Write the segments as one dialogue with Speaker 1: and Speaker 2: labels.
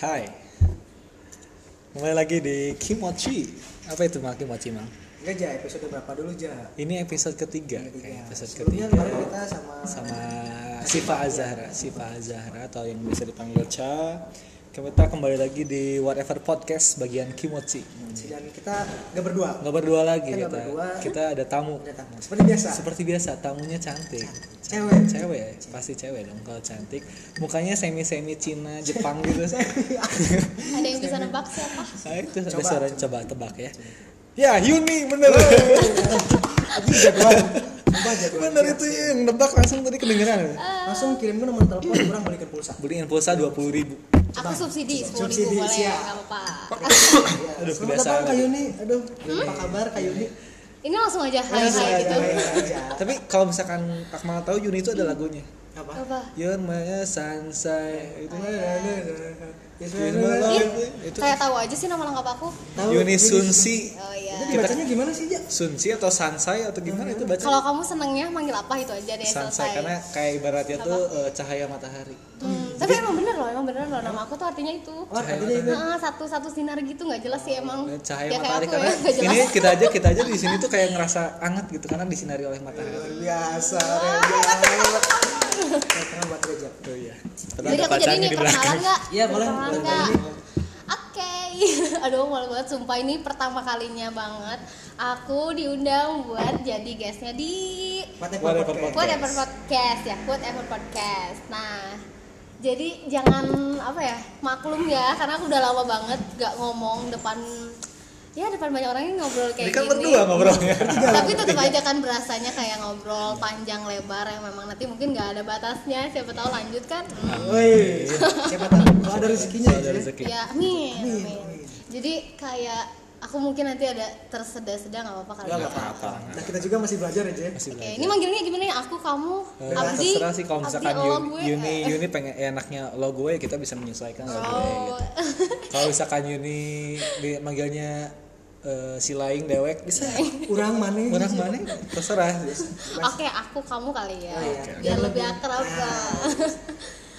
Speaker 1: Hai. Kembali lagi di Kimochi. Apa itu Mak Kimochi, Mang?
Speaker 2: Enggak aja episode berapa dulu aja?
Speaker 1: Ini episode ketiga, kayak episode
Speaker 2: Sebelumnya
Speaker 1: ketiga
Speaker 2: kemarin kita sama,
Speaker 1: sama Siva Azahra, Siva Azahra atau yang bisa dipanggil Cha. Kita kembali lagi di Whatever Podcast bagian Kimochi.
Speaker 2: dan kita nggak berdua.
Speaker 1: Nggak berdua lagi
Speaker 2: Kita nggak
Speaker 1: kita.
Speaker 2: berdua.
Speaker 1: Kita ada tamu.
Speaker 2: Ada tamu. Seperti biasa.
Speaker 1: Seperti biasa, tamunya cantik.
Speaker 2: Cewek.
Speaker 1: Cewek, pasti cewek dong kalau cantik. Mukanya semi-semi Cina, Jepang gitu.
Speaker 3: Ada yang bisa nebak siapa?
Speaker 1: Nah, itu ada
Speaker 2: Coba,
Speaker 1: suara coba tebak ya. Ya, Yuni bener.
Speaker 2: Anjing jagoan. Sumpah jagoan.
Speaker 1: bener itu yang nebak langsung tadi kedengeran.
Speaker 2: Langsung kirim gue nomor telepon kurang balikin pulsa.
Speaker 1: Beliin pulsa 20.000 ribu.
Speaker 3: Aku subsidi sepuluh
Speaker 2: Subsidi,
Speaker 3: ribu boleh,
Speaker 2: siap.
Speaker 3: nggak apa-apa.
Speaker 2: Aduh, Selamat
Speaker 1: kebiasaan.
Speaker 2: datang Kak Yuni. Aduh, apa kabar Kak Yuni? Iya,
Speaker 3: Ini langsung aja Hmm. hai hai gitu.
Speaker 2: hai, hai aja.
Speaker 1: Tapi kalau misalkan Akmal tahu Yuni itu ada lagunya.
Speaker 2: Apa?
Speaker 3: Apa?
Speaker 1: You're my sunshine. Itu kan
Speaker 2: Iya, Yes,
Speaker 1: Yuni
Speaker 2: yes, yes.
Speaker 1: Malone.
Speaker 3: Ih,
Speaker 1: Itu
Speaker 3: kayak tahu aja sih nama lengkap aku.
Speaker 2: iya, Tahu,
Speaker 1: Yuni
Speaker 2: Yuni
Speaker 1: Sunsi.
Speaker 2: Itu
Speaker 3: Oh iya.
Speaker 2: dibacanya gimana sih, Ja?
Speaker 1: Sunsi atau Sansai atau gimana itu
Speaker 3: Kalau
Speaker 1: baca?
Speaker 3: kamu senengnya manggil apa itu aja deh
Speaker 1: Sansai
Speaker 3: selesai.
Speaker 1: karena kayak ibaratnya tuh eh, cahaya matahari.
Speaker 3: Hmm, tapi emang bener loh, emang bener loh nama aku tuh artinya itu.
Speaker 2: Oh,
Speaker 1: Cahaya
Speaker 2: tadinya itu.
Speaker 3: Nah, satu satu sinar gitu nggak jelas sih emang.
Speaker 1: Eh, Cahaya
Speaker 3: ya kayak
Speaker 1: matahari
Speaker 3: aku
Speaker 1: karena
Speaker 3: ya nggak jelas.
Speaker 1: ini kita aja kita aja di sini tuh kayak ngerasa anget gitu karena disinari oleh matahari.
Speaker 2: Luar biasa, Reja. Terima buat Reja.
Speaker 1: Oh iya.
Speaker 3: Jadi aku jadi ini perkenalan nggak?
Speaker 2: Iya, boleh.
Speaker 3: Perkenalan
Speaker 2: Boleh,
Speaker 3: nggak?
Speaker 2: boleh.
Speaker 3: Oke, aduh malu banget. Sumpah ini pertama kalinya banget aku diundang buat jadi guestnya di
Speaker 2: Whatever
Speaker 1: Whatever
Speaker 2: podcast.
Speaker 1: podcast.
Speaker 3: Whatever Podcast ya, Whatever Podcast. Nah, jadi jangan apa ya, maklum ya, karena aku udah lama banget gak ngomong depan ya depan banyak orang ini ngobrol
Speaker 1: Ini
Speaker 3: kayak
Speaker 1: kan
Speaker 3: gini.
Speaker 1: berdua ngobrolnya.
Speaker 3: Tapi tetap aja kan berasanya kayak ngobrol panjang lebar yang memang nanti mungkin gak ada batasnya. Siapa tahu lanjut kan?
Speaker 1: Ah,
Speaker 3: Hmm.
Speaker 2: Woi, siapa tahu kalau ada rezekinya
Speaker 1: Ada
Speaker 2: ya. Ja.
Speaker 1: rezeki.
Speaker 3: Ya, amin,
Speaker 2: Amin,
Speaker 3: amin.
Speaker 2: amin.
Speaker 3: Jadi kayak aku mungkin nanti ada terseda-seda nggak apa-apa kali.
Speaker 2: Ya,
Speaker 3: ya.
Speaker 2: nggak apa-apa. Nah, kita juga masih belajar ya, Je.
Speaker 1: Masih
Speaker 3: Oke,
Speaker 1: belajar.
Speaker 3: ini manggilnya gimana ya? Aku, kamu,
Speaker 1: Eh,
Speaker 3: Abdi,
Speaker 1: terserah sih kalau misalkan
Speaker 3: Abdi, lo, gue,
Speaker 1: Yuni, Yuni,
Speaker 3: eh.
Speaker 1: Yuni pengen eh, enaknya lo gue kita bisa menyesuaikan lo gue.
Speaker 3: Oh,
Speaker 1: gitu. Kalau misalkan Yuni dimanggilnya eh, si laing dewek bisa.
Speaker 2: Urang mana?
Speaker 1: Orang mana terserah.
Speaker 3: oke aku kamu kali ya,
Speaker 2: Oh, iya.
Speaker 3: biar
Speaker 2: Oke.
Speaker 3: lebih akrab lah.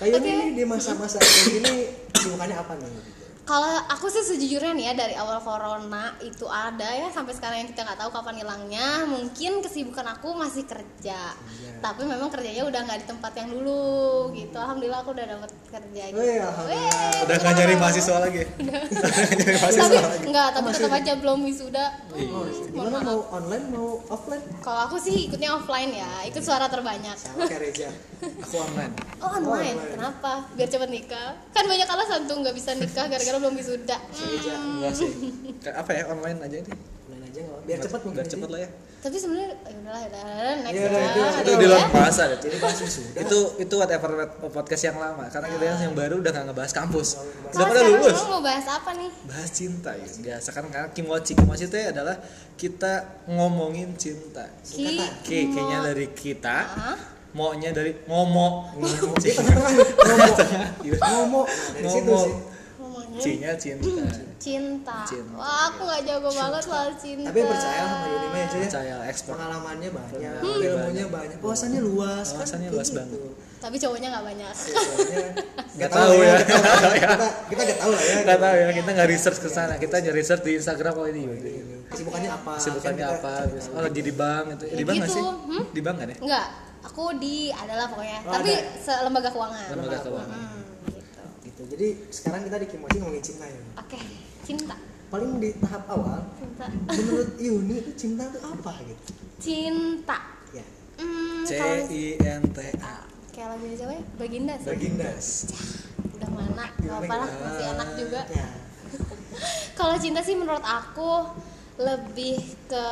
Speaker 2: Kayak
Speaker 3: Oke.
Speaker 2: ini di masa-masa kayak gini sibukannya apa nih?
Speaker 3: Kalau aku sih sejujurnya nih ya dari awal corona itu ada ya sampai sekarang yang kita nggak tahu kapan hilangnya. Mungkin kesibukan aku masih kerja, tapi memang kerjanya udah nggak di tempat yang dulu gitu. Alhamdulillah aku udah dapet kerja. Gitu.
Speaker 2: Wih, alhamdulillah.
Speaker 3: Weh,
Speaker 1: Udah nggak nyari
Speaker 3: senang.
Speaker 1: mahasiswa lagi. Nggak nyari mahasiswa.
Speaker 3: tapi enggak tapi tetap aja belum wisuda
Speaker 2: Oh, gimana mau online mau offline?
Speaker 3: kalau aku sih ikutnya offline ya ikut suara terbanyak
Speaker 2: Sama kayak Reja.
Speaker 1: Aku online.
Speaker 3: oh online
Speaker 2: online.
Speaker 3: kenapa biar cepet nikah kan banyak alasan tuh nggak bisa nikah gara-gara belum wisuda
Speaker 2: Kayak Reja.
Speaker 1: Enggak sih. Kayak apa ya online aja deh.
Speaker 2: Online aja nggak apa-apa. Biar cepat mungkin.
Speaker 1: Biar cepet lah ya.
Speaker 3: tapi sebenarnya ya udahlah ya udahlah, next
Speaker 2: Ya
Speaker 3: ya,
Speaker 2: udah, itu-
Speaker 1: Itu
Speaker 3: Aduh,
Speaker 1: di
Speaker 3: ya.
Speaker 1: luar bahasa deh.
Speaker 2: Jadi bahas wisuda.
Speaker 1: itu itu whatever podcast yang lama karena kita yang- yang baru udah nggak ngebahas kampus udah
Speaker 3: Kalau
Speaker 1: pada
Speaker 3: sekarang
Speaker 1: lulus
Speaker 3: orang mau bahas apa nih
Speaker 1: bahas cinta ya biasa kan karena kimochi kimochi itu ya adalah kita ngomongin cinta
Speaker 3: Ki
Speaker 1: Ki, kayaknya dari kita
Speaker 3: Hah?
Speaker 1: maunya dari ngomong
Speaker 2: Di tengah-tengah nih, ngomong. Ngomong. Nah, dari situ
Speaker 1: ngomong
Speaker 2: sih.
Speaker 3: ngomongin
Speaker 1: cinya cinta
Speaker 3: cinta.
Speaker 1: Cinta.
Speaker 3: wah aku nggak jago banget soal cinta
Speaker 2: Tapi percaya sama Yuni mah aja. ya.
Speaker 1: percaya ekspor
Speaker 2: Pengalamannya banyak,
Speaker 1: Hmm.
Speaker 2: ilmunya banyak, wawasannya luas, kan?
Speaker 1: Wawasannya
Speaker 2: Kayak
Speaker 1: luas
Speaker 2: gitu. Iya,
Speaker 1: banget.
Speaker 3: tapi cowoknya nggak banyak
Speaker 2: Soalnya
Speaker 1: Nggak tahu ya.
Speaker 2: nggak tahu ya. Kita kita nggak tahu lah ya.
Speaker 1: nggak tahu ya kita nggak research ke sana kita hanya research di Instagram kok ini
Speaker 2: Kesibukannya apa?
Speaker 1: kesibukannya
Speaker 2: Kan kita-
Speaker 1: apa oh lagi di bank itu di bank nggak sih
Speaker 3: gitu. Hmm?
Speaker 1: di bank nggak deh
Speaker 3: nggak aku di adalah pokoknya
Speaker 2: Oh,
Speaker 3: tapi
Speaker 2: ada.
Speaker 3: se- lembaga keuangan
Speaker 1: lembaga keuangan
Speaker 3: Hmm, gitu
Speaker 2: gitu jadi sekarang kita di Kimochi ngomongin cinta ya
Speaker 3: Oke, cinta.
Speaker 2: paling di tahap awal
Speaker 3: Cinta.
Speaker 2: menurut Yuni itu cinta itu apa gitu
Speaker 3: Cinta.
Speaker 2: ya
Speaker 3: Hmm,
Speaker 1: C
Speaker 3: kalau Ah,
Speaker 1: I N T A
Speaker 3: kayak lagunya siapa ya? Baginda sih.
Speaker 2: baginda
Speaker 3: Udah mana? Gak apa lah, masih enak juga.
Speaker 2: gitu. ya
Speaker 3: Kalau cinta sih menurut aku lebih ke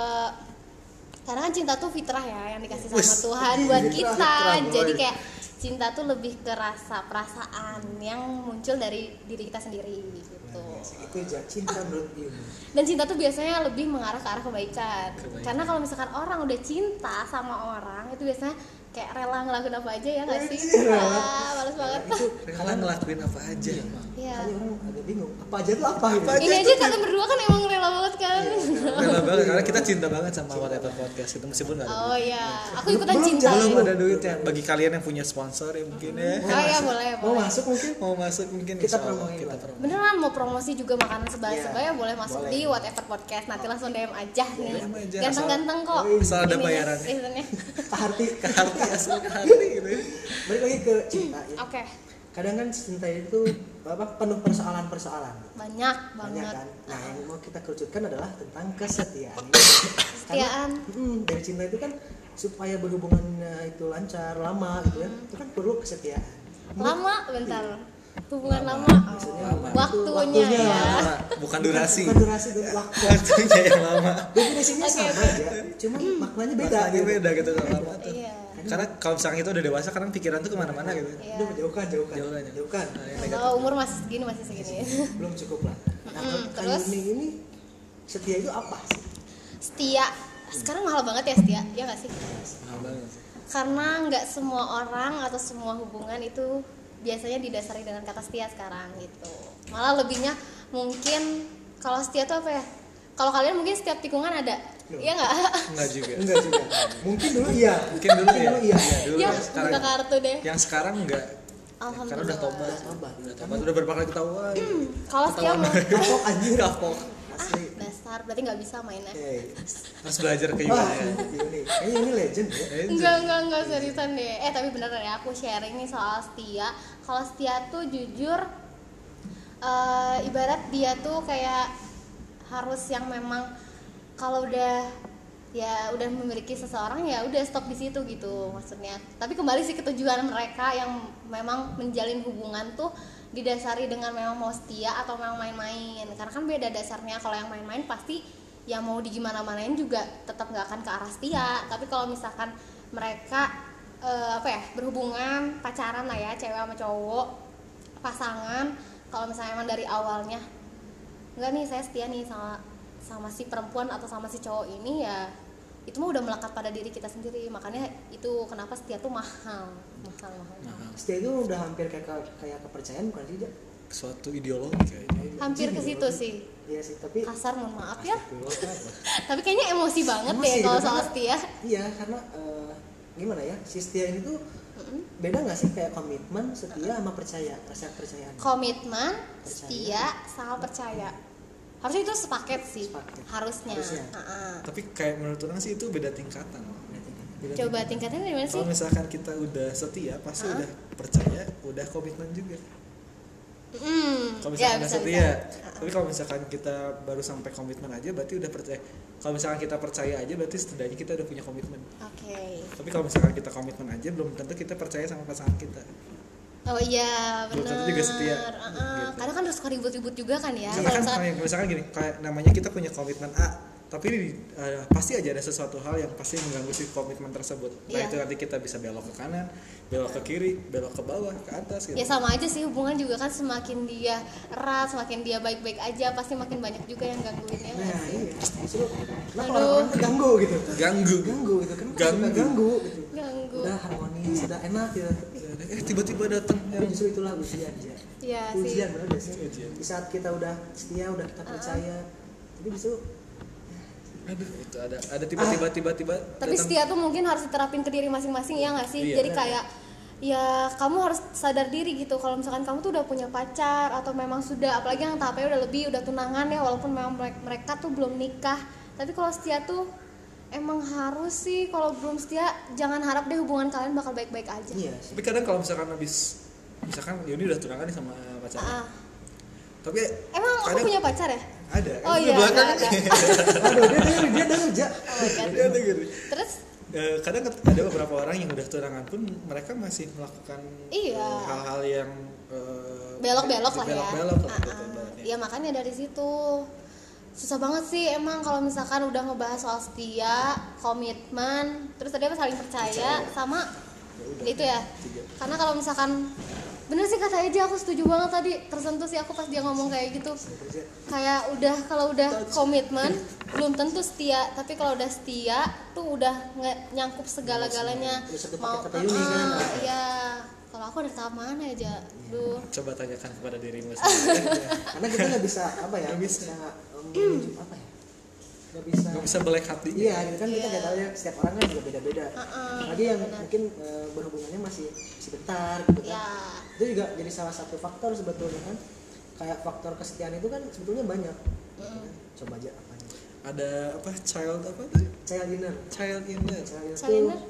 Speaker 3: karena kan cinta tuh fitrah ya yang dikasih sama
Speaker 1: Wes,
Speaker 3: Tuhan
Speaker 2: iya,
Speaker 3: buat
Speaker 2: fitrah,
Speaker 3: kita.
Speaker 2: fitrah, boy.
Speaker 3: Jadi kayak cinta tuh lebih ke rasa perasaan yang muncul dari diri kita sendiri gitu.
Speaker 2: itu Nah, ya, aja cinta menurut Yuni
Speaker 3: dan cinta tuh biasanya lebih mengarah ke arah kebaikan,
Speaker 1: Kebaikan.
Speaker 3: karena kalau misalkan orang udah cinta sama orang itu biasanya kayak
Speaker 2: Iya.
Speaker 3: rela ngelakuin apa aja ya nggak sih
Speaker 2: Anjir, rela.
Speaker 3: Wah, males banget
Speaker 2: itu
Speaker 1: Rela ngelakuin apa aja
Speaker 3: ya
Speaker 2: makanya orang agak bingung apa aja tuh apa gitu.
Speaker 3: ini aja kalian berdua kan emang rela banget kan
Speaker 2: Iya.
Speaker 1: Rela banget karena kita cinta banget sama whatever podcast itu meskipun nggak ada
Speaker 3: oh iya aku ikutan
Speaker 2: Belum
Speaker 3: cinta
Speaker 2: jalan,
Speaker 1: belum
Speaker 3: ya.
Speaker 1: ada duitnya bagi kalian yang punya sponsor ya mungkin ya
Speaker 3: oh iya boleh
Speaker 2: mau
Speaker 3: boleh
Speaker 2: masuk mungkin
Speaker 1: mau masuk mungkin
Speaker 2: Kita
Speaker 1: insya Allah
Speaker 2: promoin
Speaker 1: kita
Speaker 2: lah.
Speaker 1: promoin
Speaker 3: beneran mau promosi juga makanan sebaya-sebaya boleh masuk
Speaker 2: boleh.
Speaker 3: di whatever podcast nanti langsung DM aja nih
Speaker 1: DM aja.
Speaker 3: ganteng-ganteng kok
Speaker 1: asal ada
Speaker 3: Ini nih,
Speaker 1: bayarannya.
Speaker 3: listennya.
Speaker 2: Kak Harti
Speaker 1: ke hati asal ke hati ya, gitu ya.
Speaker 2: balik lagi ke cinta ya.
Speaker 3: oke
Speaker 2: kadang kan cinta itu apa penuh persoalan-persoalan
Speaker 3: banyak
Speaker 2: banyak
Speaker 3: banget
Speaker 2: kan nah yang mau kita kerucutkan adalah tentang kesetiaan
Speaker 3: kesetiaan
Speaker 2: Mm, dari cinta itu kan supaya berhubungannya itu lancar lama gitu
Speaker 3: Mm-hmm.
Speaker 2: kan itu kan perlu kesetiaan
Speaker 3: lama bentar hubungan lama,
Speaker 2: Maksudnya
Speaker 3: Oh,
Speaker 2: lama.
Speaker 3: waktunya,
Speaker 2: Itu waktunya.
Speaker 3: ya
Speaker 1: Lama, bukan durasi
Speaker 2: bukan durasi dan waktu
Speaker 1: waktunya yang lama
Speaker 2: definisinya
Speaker 3: Oke, Mm.
Speaker 2: sama ya cuma maknanya beda
Speaker 1: Maknanya
Speaker 2: gitu.
Speaker 1: beda gitu kalau lama tuh
Speaker 3: iya
Speaker 1: karena kalau misalnya itu udah dewasa kadang pikiran tuh kemana-mana gitu
Speaker 3: iya
Speaker 2: Udah, jauhkan jauhkan
Speaker 1: Jauhkan, ya.
Speaker 2: jauhkan
Speaker 1: Nah, yang negatif.
Speaker 3: kalau umur masih segini masih segini
Speaker 2: belum cukup lah nah
Speaker 3: Mm,
Speaker 2: kalau
Speaker 3: terus?
Speaker 2: Kayuni ini setia itu apa sih
Speaker 3: setia sekarang mahal banget ya setia ya nggak sih
Speaker 1: Mahal banget.
Speaker 3: karena nggak semua orang atau semua hubungan itu biasanya didasari dengan kata setia sekarang gitu malah lebihnya mungkin kalau setia tuh apa ya kalau kalian mungkin setiap tikungan ada
Speaker 2: Loh.
Speaker 3: Iya nggak
Speaker 1: enggak juga
Speaker 2: enggak juga mungkin dulu iya
Speaker 1: mungkin dulu ya,
Speaker 2: Iya.
Speaker 1: Iya, dulu
Speaker 3: ya
Speaker 1: yang sekarang
Speaker 3: buka kartu deh
Speaker 1: yang sekarang enggak karena udah
Speaker 3: alhamdulillah
Speaker 1: tobat
Speaker 2: Tobat.
Speaker 1: udah tobat udah berapa kali ketahuan
Speaker 3: kalau setia mau
Speaker 2: Iya, kapok anjir
Speaker 1: kapok
Speaker 3: Ah, Iya,
Speaker 2: asli
Speaker 3: dasar berarti nggak bisa mainnya
Speaker 2: Hey.
Speaker 1: harus belajar ya. kayak
Speaker 2: Wah,
Speaker 1: gimana
Speaker 2: ini kayaknya ini legend ya.
Speaker 3: Enggak, enggak, enggak seriusan deh. Eh, tapi beneran ya aku sharing nih soal setia. Kalau setia tuh jujur eh, ibarat dia tuh kayak harus yang memang kalau udah ya udah memiliki seseorang ya udah stop di situ gitu maksudnya. Tapi kembali sih ke tujuan mereka yang memang menjalin hubungan tuh didasari dengan memang mau setia atau memang main-main. Karena kan beda dasarnya kalau yang main-main pasti ya mau di gimana manain juga tetap nggak akan ke arah setia tapi kalau misalkan mereka eh, apa ya berhubungan pacaran lah ya cewek sama cowok pasangan kalau misalnya emang dari awalnya nggak nih saya setia nih sama sama si perempuan atau sama si cowok ini ya itu mah udah melekat pada diri kita sendiri makanya itu kenapa setia tuh mahal mahal mahal, mahal.
Speaker 2: Setia itu udah hampir kayak ke- kayak kepercayaan bukan sih? Jak?
Speaker 1: suatu ideologi kayaknya
Speaker 3: hampir ke situ sih
Speaker 2: Iya sih, tapi
Speaker 3: kasar mohon maaf ya
Speaker 2: Astagfirullah.
Speaker 3: tapi kayaknya emosi banget
Speaker 2: Emosi,
Speaker 3: deh kalau
Speaker 2: gitu.
Speaker 3: soal setia
Speaker 2: Iya, karena eh, gimana ya? Si setia ini tuh beda nggak sih kayak komitmen setia sama percaya rasa kepercayaan
Speaker 3: komitmen,
Speaker 2: Percaya.
Speaker 3: setia, sama percaya. Harusnya itu sepaket sih,
Speaker 2: Sepaket.
Speaker 3: harusnya.
Speaker 2: Harusnya.
Speaker 3: Heeh.
Speaker 1: tapi kayak menurut orang sih itu beda tingkatan loh. Beda
Speaker 3: Coba
Speaker 1: tingkatan.
Speaker 3: tingkatnya dari mana Iya sih?
Speaker 1: kalau misalkan kita udah setia pasti
Speaker 3: Hah?
Speaker 1: udah percaya udah komitmen juga
Speaker 3: Mm,
Speaker 1: kalau misalkan
Speaker 3: ya,
Speaker 1: udah
Speaker 3: bisa,
Speaker 1: setia
Speaker 3: bisa. Heeh.
Speaker 1: tapi kalau misalkan kita baru sampai komitmen aja berarti udah percaya kalau misalkan kita percaya aja berarti setidaknya kita udah punya komitmen
Speaker 3: Oke.
Speaker 1: tapi kalau misalkan kita komitmen aja belum tentu kita percaya sama pasangan kita
Speaker 3: Oh iya,
Speaker 1: Belum
Speaker 3: benar.
Speaker 1: tentu juga setia.
Speaker 3: Heeh.
Speaker 1: Gitu.
Speaker 3: Karena kan harus suka ribut-ribut juga kan ya.
Speaker 1: Karena
Speaker 3: Kalau
Speaker 1: kan
Speaker 3: misalkan-
Speaker 1: kayak- misalkan gini, kayak namanya kita punya komitmen A, tapi di- eh, pasti aja ada sesuatu hal yang pasti mengganggu si komitmen tersebut. Nah
Speaker 3: Iya.
Speaker 1: itu nanti kita bisa belok ke kanan, belok ke kiri, belok ke bawah, ke atas gitu.
Speaker 3: Ya sama aja sih hubungan juga kan semakin dia erat, semakin dia baik-baik aja pasti makin banyak juga yang gangguin ya.
Speaker 2: Nah, iya. Justru kenapa
Speaker 3: Aduh.
Speaker 2: orang-orang tuh ganggu gitu?
Speaker 1: Ganggu.
Speaker 2: Ganggu gitu kan
Speaker 1: Ganggu.
Speaker 2: suka ganggu gitu.
Speaker 3: Ganggu.
Speaker 2: Udah harmonis, udah enak gitu. Tapi
Speaker 1: Eh tiba-tiba datang yang
Speaker 2: justru itulah ujian aja.
Speaker 3: Iya sih.
Speaker 2: Ujian benar nggak sih?
Speaker 1: Ujian.
Speaker 2: Di saat kita udah setia, udah kita percaya, tapi justru
Speaker 1: aduh itu ada ada tiba-tiba tiba-tiba
Speaker 3: Ah. tapi
Speaker 1: datang.
Speaker 3: setia tuh mungkin harus diterapin ke diri masing-masing ya nggak sih
Speaker 1: Iya,
Speaker 3: jadi
Speaker 1: benar.
Speaker 3: kayak ya kamu harus sadar diri gitu kalau misalkan kamu tuh udah punya pacar atau memang sudah apalagi yang tahapnya udah lebih udah tunangan ya walaupun memang mere- mereka tuh belum nikah tapi kalau setia tuh emang harus sih kalau belum setia jangan harap deh hubungan kalian bakal baik-baik aja
Speaker 2: iya sih.
Speaker 1: Tapi kadang kalau misalkan habis misalkan Yuni udah tunangan nih sama pacarnya.
Speaker 3: Ah,
Speaker 1: Tapi
Speaker 3: emang aku
Speaker 1: Kadang-
Speaker 3: punya pacar ya
Speaker 1: ada
Speaker 3: oh
Speaker 1: di
Speaker 3: iya ada,
Speaker 1: belakang
Speaker 3: ada.
Speaker 2: Aduh, dia dengerin, dia dengerin, Jak.
Speaker 3: Oh my God.
Speaker 1: Dia ada gitu.
Speaker 3: terus
Speaker 1: Eh, kadang ket- ada beberapa orang yang udah tunangan pun mereka masih melakukan
Speaker 3: Iya.
Speaker 1: eh, hal-hal yang eh,
Speaker 3: belok-belok lah ya.
Speaker 1: belok-belok lah gitu
Speaker 3: Ah,
Speaker 1: ibaratnya.
Speaker 3: ya makanya dari situ susah banget sih emang kalau misalkan udah ngebahas soal setia, komitmen, terus tadi apa saling percaya, sama itu ya.
Speaker 1: Tiga.
Speaker 3: Karena kalau misalkan bener sih kata aja aku setuju banget tadi tersentuh sih aku pas dia ngomong kayak gitu kayak udah kalau udah komitmen belum tentu setia tapi kalau udah setia tuh udah nge- nyangkup segala-galanya
Speaker 2: Udah satu paket
Speaker 3: mau
Speaker 2: kata Yuni kan.
Speaker 3: Ah, iya kalau kalau aku ada tahap mana aja duh
Speaker 1: Coba tanyakan kepada dirimu sendiri.
Speaker 2: karena kita nggak bisa apa ya
Speaker 1: Nggak
Speaker 2: nggak
Speaker 1: bisa.
Speaker 2: bisa um, menuju apa ya nggak bisa
Speaker 1: Gak bisa belek hati.
Speaker 2: iya gitu kan kita
Speaker 3: Iya.
Speaker 2: nggak tahu ya setiap orang kan juga beda-beda
Speaker 3: Heeh,
Speaker 2: lagi yang
Speaker 3: benar.
Speaker 2: mungkin eh, berhubungannya masih masih bentar gitu kan
Speaker 3: ya
Speaker 2: itu juga jadi salah satu faktor sebetulnya kan kayak faktor kesetiaan itu kan sebetulnya banyak coba aja apa
Speaker 1: Ada apa child apa tadi?
Speaker 2: child dinner
Speaker 1: Child inner.
Speaker 2: child dinner
Speaker 3: Child
Speaker 2: itu
Speaker 3: inner?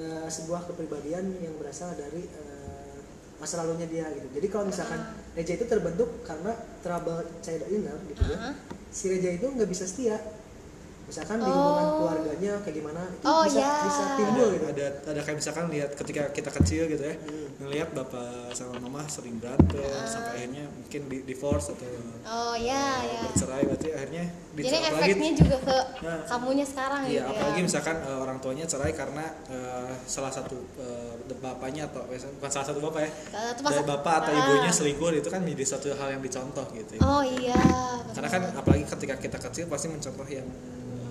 Speaker 2: eh, sebuah kepribadian yang berasal dari eh, masa lalunya dia gitu jadi kalau misalkan
Speaker 3: Ah.
Speaker 2: Reja itu terbentuk karena trouble child inner gitu ya
Speaker 3: Heeh.
Speaker 2: si Reja itu nggak bisa setia misalkan di hubungan
Speaker 3: Oh.
Speaker 2: keluarganya kayak gimana itu
Speaker 3: Oh,
Speaker 2: bisa
Speaker 3: ya.
Speaker 2: bisa
Speaker 1: Ada,
Speaker 2: timbul gitu
Speaker 1: ada ada kayak misalkan lihat ketika kita kecil gitu ya
Speaker 2: Hmm.
Speaker 1: ngelihat bapak sama mama sering berantem
Speaker 3: Ah.
Speaker 1: sampai akhirnya mungkin di divorce atau eh,
Speaker 3: oh ya ya
Speaker 1: bercerai berarti akhirnya
Speaker 3: jadi
Speaker 1: dicerai lagi
Speaker 3: efeknya juga ke
Speaker 1: Nah.
Speaker 3: kamunya sekarang
Speaker 1: Iya,
Speaker 3: gitu
Speaker 1: apalagi
Speaker 3: ya
Speaker 1: misalkan eh, orang tuanya cerai karena eh, salah satu eh, bapaknya atau bukan salah satu bapak ya.
Speaker 3: Salah satu
Speaker 1: Dari
Speaker 3: pasak-
Speaker 1: bapak atau
Speaker 3: Ah.
Speaker 1: ibunya selingkuh itu kan menjadi satu hal yang dicontoh gitu. ya.
Speaker 3: oh iya
Speaker 1: Karena kan
Speaker 3: betul.
Speaker 1: apalagi ketika kita kecil pasti mencontoh yang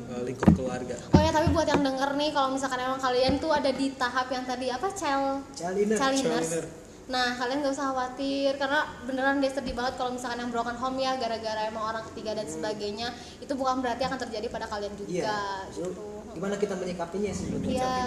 Speaker 1: eh, lingkup keluarga.
Speaker 3: Oh ya tapi buat yang denger nih kalau misalkan emang kalian tuh ada di tahap yang tadi apa cel
Speaker 2: child inner
Speaker 3: Caliners.
Speaker 1: Caliners.
Speaker 3: Nah, kalian gak usah khawatir karena beneran deh sedih banget kalau misalkan yang broken home ya gara-gara emang orang ketiga dan sebagainya. Itu bukan berarti akan terjadi pada kalian juga
Speaker 2: iya
Speaker 3: gitu.
Speaker 2: gimana kita menyikapinya sih sebetulnya
Speaker 3: Iya.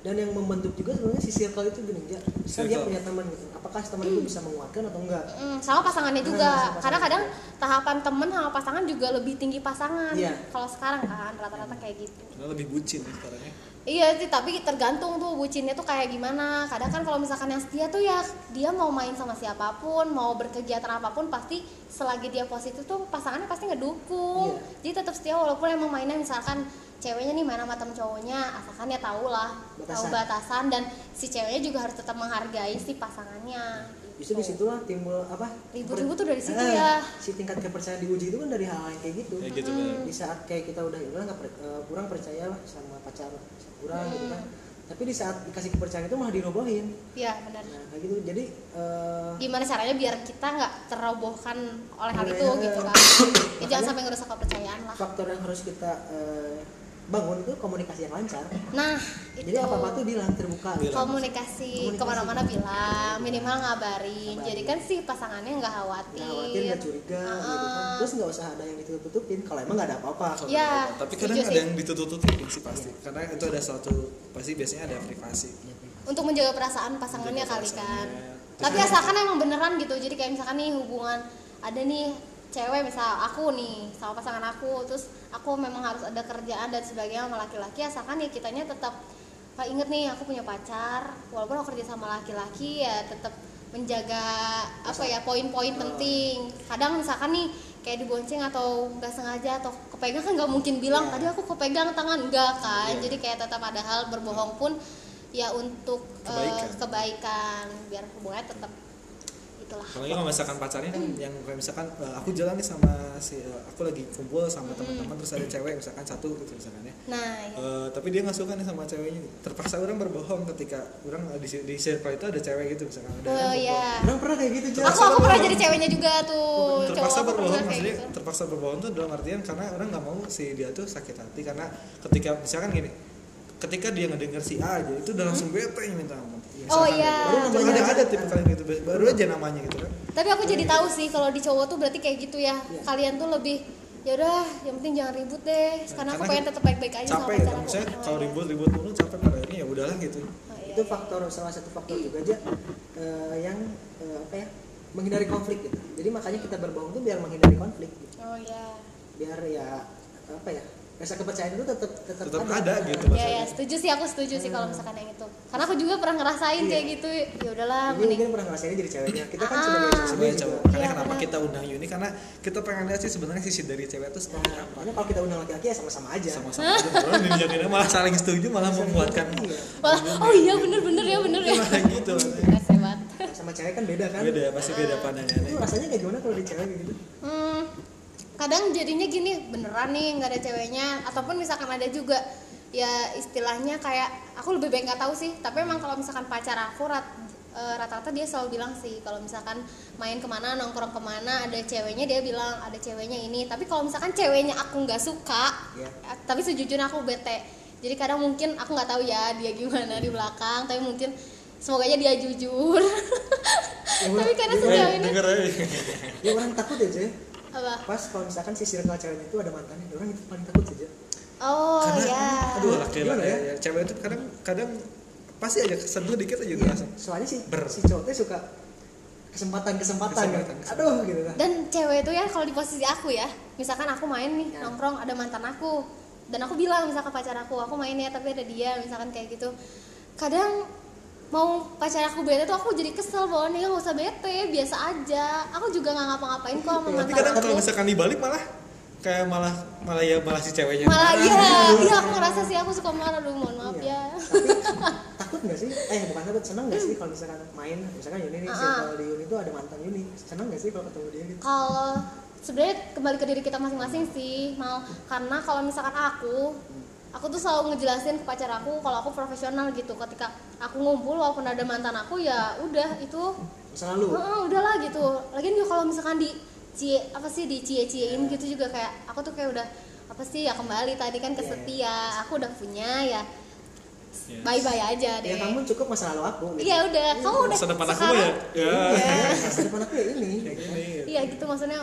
Speaker 2: dan yang membentuk juga sebenarnya si circle itu gini ya kan dia
Speaker 1: Circle.
Speaker 2: punya teman gitu. apakah teman itu
Speaker 3: Hmm.
Speaker 2: bisa menguatkan atau enggak
Speaker 3: Mm, sama pasangannya
Speaker 2: Bener,
Speaker 3: juga.
Speaker 2: sama pasangan
Speaker 3: karena kadang
Speaker 2: juga.
Speaker 3: tahapan temen sama pasangan juga lebih tinggi pasangan.
Speaker 2: Iya.
Speaker 3: Kalau sekarang kan rata-rata kayak gitu.
Speaker 1: Karena lebih bucin ya sekarang ya.
Speaker 3: Iya sih, tapi tergantung tuh bucinnya tuh kayak gimana. Kadang kan kalau misalkan yang setia tuh ya dia mau main sama siapapun, mau berkegiatan apapun pasti selagi dia positif tuh pasangannya pasti
Speaker 2: Iya.
Speaker 3: ngedukung. Jadi tetap setia walaupun emang mainnya misalkan ceweknya nih main sama temen cowoknya, asalkan ya tahu lah, tahu
Speaker 2: Batasan.
Speaker 3: batasan dan si ceweknya juga harus tetap menghargai si pasangannya.
Speaker 2: justru
Speaker 3: gitu.
Speaker 2: disitulah timbul apa
Speaker 3: Ribut-ribut tuh dari situ
Speaker 2: Eh,
Speaker 3: ya.
Speaker 2: si tingkat kepercayaan diuji itu kan dari hal yang kayak gitu
Speaker 1: Ya gitu bener.
Speaker 2: di saat kayak kita udah udah nggak per- eh, kurang percaya lah sama pacar kurang gitu
Speaker 3: Hmm.
Speaker 2: kan tapi di saat dikasih kepercayaan itu malah dirobohin
Speaker 3: Iya benar.
Speaker 2: nah kayak gitu jadi eh,
Speaker 3: Gimana caranya biar kita nggak terobohkan oleh hal itu
Speaker 2: Iya.
Speaker 3: gitu kan? Ya, jangan
Speaker 2: Makanya-
Speaker 3: sampai ngerusak kepercayaan lah.
Speaker 2: faktor yang harus kita eh, bangun itu komunikasi yang lancar
Speaker 3: Nah, itu.
Speaker 2: jadi apa apa tuh bilang terbuka gitu.
Speaker 3: komunikasi,
Speaker 2: Komunikasi.
Speaker 3: kemana-mana bilang minimal ngabarin
Speaker 2: Ngabarin.
Speaker 3: jadi kan si pasangannya nggak
Speaker 2: nggak
Speaker 3: khawatir,
Speaker 2: khawatir nggak curiga gitu kan
Speaker 3: Heeh.
Speaker 2: terus nggak usah ada yang ditutup tutupin kalau emang nggak ada apa-apa
Speaker 1: Kalau
Speaker 3: Ya,
Speaker 1: ada apa-apa. Tapi kadang
Speaker 3: setuju
Speaker 1: ada
Speaker 3: sih.
Speaker 1: yang ditutup-tutupin sih pasti. Karena itu ada suatu pasti biasanya ada privasi.
Speaker 3: untuk menjaga perasaan pasangannya
Speaker 1: Menjaga
Speaker 3: kali kan
Speaker 1: perasaannya.
Speaker 3: tapi
Speaker 1: Terus-
Speaker 3: asalkan emang beneran gitu jadi kayak misalkan nih hubungan ada nih cewek misal aku nih sama pasangan aku terus aku memang harus ada kerjaan dan sebagainya sama laki-laki asalkan ya kitanya tetap "Ah, inget nih aku punya pacar walaupun aku kerja sama laki-laki ya tetap menjaga apa ya poin-poin penting kadang misalkan nih kayak dibonceng atau nggak sengaja atau kepegang kan nggak mungkin bilang
Speaker 2: Iya.
Speaker 3: tadi aku kepegang tangan enggak
Speaker 1: Iya.
Speaker 3: kan
Speaker 1: Hmm.
Speaker 3: jadi kayak tetap ada hal berbohong pun ya untuk eh,
Speaker 1: Kebaikan.
Speaker 3: kebaikan biar hubungannya tetap itulah
Speaker 1: apalagi kalau misalkan pacarnya kan yang kayak misalkan eh, aku jalan nih sama si eh, aku lagi kumpul sama teman-teman terus ada cewek misalkan satu gitu misalkan ya
Speaker 3: nah ya.
Speaker 1: Eh, tapi dia nggak suka nih sama ceweknya terpaksa orang berbohong ketika orang eh, di, di circle itu ada cewek gitu misalkan ada
Speaker 3: oh
Speaker 1: orang
Speaker 3: ya
Speaker 2: orang pernah kayak gitu
Speaker 3: aku aku pernah jadi ceweknya juga tuh
Speaker 1: berbohong. terpaksa
Speaker 3: aku
Speaker 1: berbohong
Speaker 3: kayak
Speaker 1: maksudnya
Speaker 3: gitu.
Speaker 1: terpaksa berbohong tuh dalam artian karena orang nggak mau si dia tuh sakit hati karena ketika misalkan gini ketika dia ngedenger si A aja itu udah langsung bete yang minta ampun
Speaker 3: Hmm? Oh,
Speaker 1: Misalkan
Speaker 3: iya.
Speaker 1: gitu. Baru
Speaker 2: Namanya
Speaker 1: ada
Speaker 2: aja.
Speaker 1: ada tipe kalian gitu baru aja namanya gitu kan
Speaker 3: tapi aku jadi tahu sih kalau di cowok tuh berarti kayak gitu ya
Speaker 2: Iya.
Speaker 3: kalian tuh lebih ya udah yang penting jangan ribut deh karena aku
Speaker 1: Karena
Speaker 3: pengen tetap baik-baik aja sama
Speaker 1: capek
Speaker 3: pacar
Speaker 1: kan
Speaker 3: aku
Speaker 1: misalnya
Speaker 3: Oh,
Speaker 1: kalau
Speaker 3: iya.
Speaker 1: ribut-ribut mulu capek pada akhirnya ya udahlah gitu
Speaker 3: Oh, iya,
Speaker 2: itu
Speaker 3: iya.
Speaker 2: faktor salah satu faktor juga aja eh, yang eh, apa ya menghindari konflik gitu jadi makanya kita berbohong tuh biar menghindari konflik gitu.
Speaker 3: oh ya
Speaker 2: biar ya apa ya rasa kepercayaan itu tetap tetap,
Speaker 1: tetap ada gitu
Speaker 3: ya ya
Speaker 1: maksudnya
Speaker 3: setuju sih aku setuju sih kalau misalkan yang itu karena aku juga pernah ngerasain
Speaker 2: Iya.
Speaker 3: kayak gitu ya udahlah
Speaker 2: Ini
Speaker 3: mending
Speaker 2: mungkin pernah ngerasainnya jadi ceweknya kita kan
Speaker 3: Ah.
Speaker 2: sebagai
Speaker 1: sebagai
Speaker 2: cewek
Speaker 1: cowok
Speaker 2: juga
Speaker 1: makanya
Speaker 3: Iya,
Speaker 1: kenapa
Speaker 3: benar.
Speaker 1: kita undang Yuni karena kita pengen lihat sih sebenarnya sisi dari cewek itu seperti
Speaker 2: nah,
Speaker 1: apa
Speaker 2: makanya kalau kita undang laki-laki ya sama-sama
Speaker 3: Iya.
Speaker 2: aja
Speaker 1: sama-sama aja orang dijadiin malah saling setuju malah membuatkan
Speaker 2: Iya.
Speaker 3: Wah, oh iya bener-bener ya bener ya
Speaker 1: Nah, gitu
Speaker 3: Keren banget.
Speaker 2: sama cewek kan beda kan
Speaker 1: beda pasti beda pandangannya
Speaker 2: itu
Speaker 3: Iya,
Speaker 2: rasanya kayak gimana kalau di cewek gitu
Speaker 3: Hmm, kadang jadinya gini beneran nih nggak ada ceweknya ataupun misalkan ada juga ya istilahnya kayak aku lebih baik nggak tahu sih tapi emang kalau misalkan pacar aku rat- eh, rata-rata dia selalu bilang sih kalau misalkan main kemana nongkrong kemana ada ceweknya dia bilang ada ceweknya ini tapi kalau misalkan ceweknya aku nggak suka
Speaker 2: Iya.
Speaker 3: eh, tapi ya sejujurnya aku bete jadi kadang mungkin aku nggak tahu ya dia gimana di belakang tapi mungkin semoga aja dia jujur
Speaker 2: Ya,
Speaker 3: tapi karena
Speaker 2: gitu.
Speaker 3: sejauh
Speaker 2: Eh,
Speaker 3: ini
Speaker 4: denger aja.
Speaker 1: eh.
Speaker 2: ya orang takut ya Jay
Speaker 3: apa
Speaker 2: pas kalau misalkan si circle ceweknya itu ada mantannya ya orang itu paling takut saja
Speaker 3: oh
Speaker 1: Karena-
Speaker 3: ya
Speaker 1: aduh
Speaker 4: Iya,
Speaker 1: laki
Speaker 2: Gimana
Speaker 1: laki
Speaker 2: ya?
Speaker 1: ya. cewek itu kadang kadang pasti aja kesentuh
Speaker 4: gitu
Speaker 1: dikit aja
Speaker 3: Iya.
Speaker 1: udah langsung
Speaker 2: Iya, soalnya si
Speaker 1: Gitu. Ber.
Speaker 2: si cowoknya suka kesempatan kesempatan gitu.
Speaker 1: Kesempatan, kesempatan.
Speaker 2: aduh gitu kan
Speaker 3: dan cewek itu ya kalau di posisi aku ya misalkan aku main nih nongkrong ada mantan aku dan aku bilang misalkan pacar aku aku main ya tapi ada dia misalkan kayak gitu kadang mau pacar aku bete tuh aku jadi kesel bahwa dia nggak usah bete biasa aja aku juga nggak ngapa-ngapain kok sama
Speaker 4: Tapi
Speaker 3: mantan
Speaker 4: kadang
Speaker 3: aku
Speaker 4: kalau misalkan dibalik malah kayak malah malah ya malah si ceweknya.
Speaker 3: malah
Speaker 4: marah.
Speaker 3: iya iya aku ngerasa sih aku suka marah aduh mohon maaf
Speaker 2: Iya.
Speaker 3: ya Hmm.
Speaker 2: tapi takut nggak sih eh bukan takut seneng nggak sih kalau misalkan main misalkan Yuni nih
Speaker 3: Ah.
Speaker 2: circle di Yuni itu ada mantan Yuni seneng nggak sih kalau ketemu dia gitu
Speaker 3: kalau sebenarnya kembali ke diri kita masing-masing sih mau karena kalau misalkan aku aku tuh selalu ngejelasin ke pacar aku kalau aku profesional gitu ketika aku ngumpul walaupun ada mantan aku ya udah itu
Speaker 2: masa lalu
Speaker 3: Heeh, udahlah gitu. Lagian juga kalau misalkan di cie apa sih di cie-ciein gitu juga kayak aku tuh kayak udah apa sih ya kembali tadi kan ke
Speaker 2: Iya,
Speaker 3: setia. Aku udah punya ya.
Speaker 1: Iya.
Speaker 4: Iya.
Speaker 3: Bye-bye aja deh.
Speaker 2: ya kamu cukup masa lalu aku gitu
Speaker 3: Iya udah, kamu udah
Speaker 4: Masa depan aku ya.
Speaker 3: sekarang-
Speaker 4: Ya.
Speaker 2: Iya, masa depan aku ya ini gitu kan.
Speaker 3: Iya gitu maksudnya.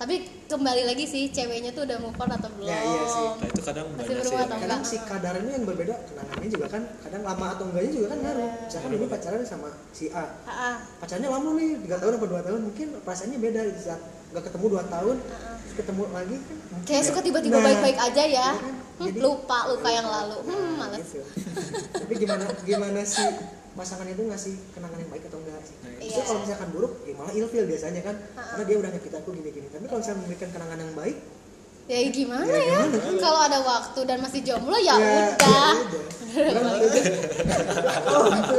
Speaker 3: Tapi kembali lagi sih ceweknya tuh udah move on atau belum.
Speaker 2: Ya, iya sih.
Speaker 4: Nah, itu kadang
Speaker 3: Masih
Speaker 4: banyak sih.
Speaker 3: berubah atau
Speaker 2: kadang
Speaker 3: enggak?
Speaker 2: si kadarnya yang berbeda kenangannya juga kan kadang lama atau enggaknya juga kan
Speaker 3: Iya.
Speaker 2: ngaruh
Speaker 1: Iya,
Speaker 2: misalkan ini pacaran sama si A
Speaker 3: Ah, ah.
Speaker 2: pacarnya lama nih tiga tahun atau dua tahun mungkin perasaannya beda gitu. saat nggak ketemu dua tahun terus ketemu lagi kan
Speaker 3: Kayak suka tiba-tiba
Speaker 2: Nah,
Speaker 3: baik-baik aja ya.
Speaker 2: iya kan?
Speaker 3: Hmm,
Speaker 2: Jadi-
Speaker 3: lupa luka yang lalu. Hmm,
Speaker 2: Nah,
Speaker 3: males.
Speaker 2: gitu. tapi gimana gimana sih pasangan itu ngasih kenangan yang baik atau enggak sih
Speaker 4: Nah,
Speaker 2: Justru
Speaker 3: iya.
Speaker 2: kalau misalkan buruk ya malah ilfil biasanya kan karena dia udah nyakit aku gini-gini tapi kalau misalkan memberikan kenangan yang baik
Speaker 3: Ya gimana
Speaker 2: Ya,
Speaker 3: ya?
Speaker 2: gimana?
Speaker 3: Kalau ada waktu dan masih jomblo
Speaker 2: ya
Speaker 3: ya, udah.
Speaker 2: ya udah. Orang gitu. oh gitu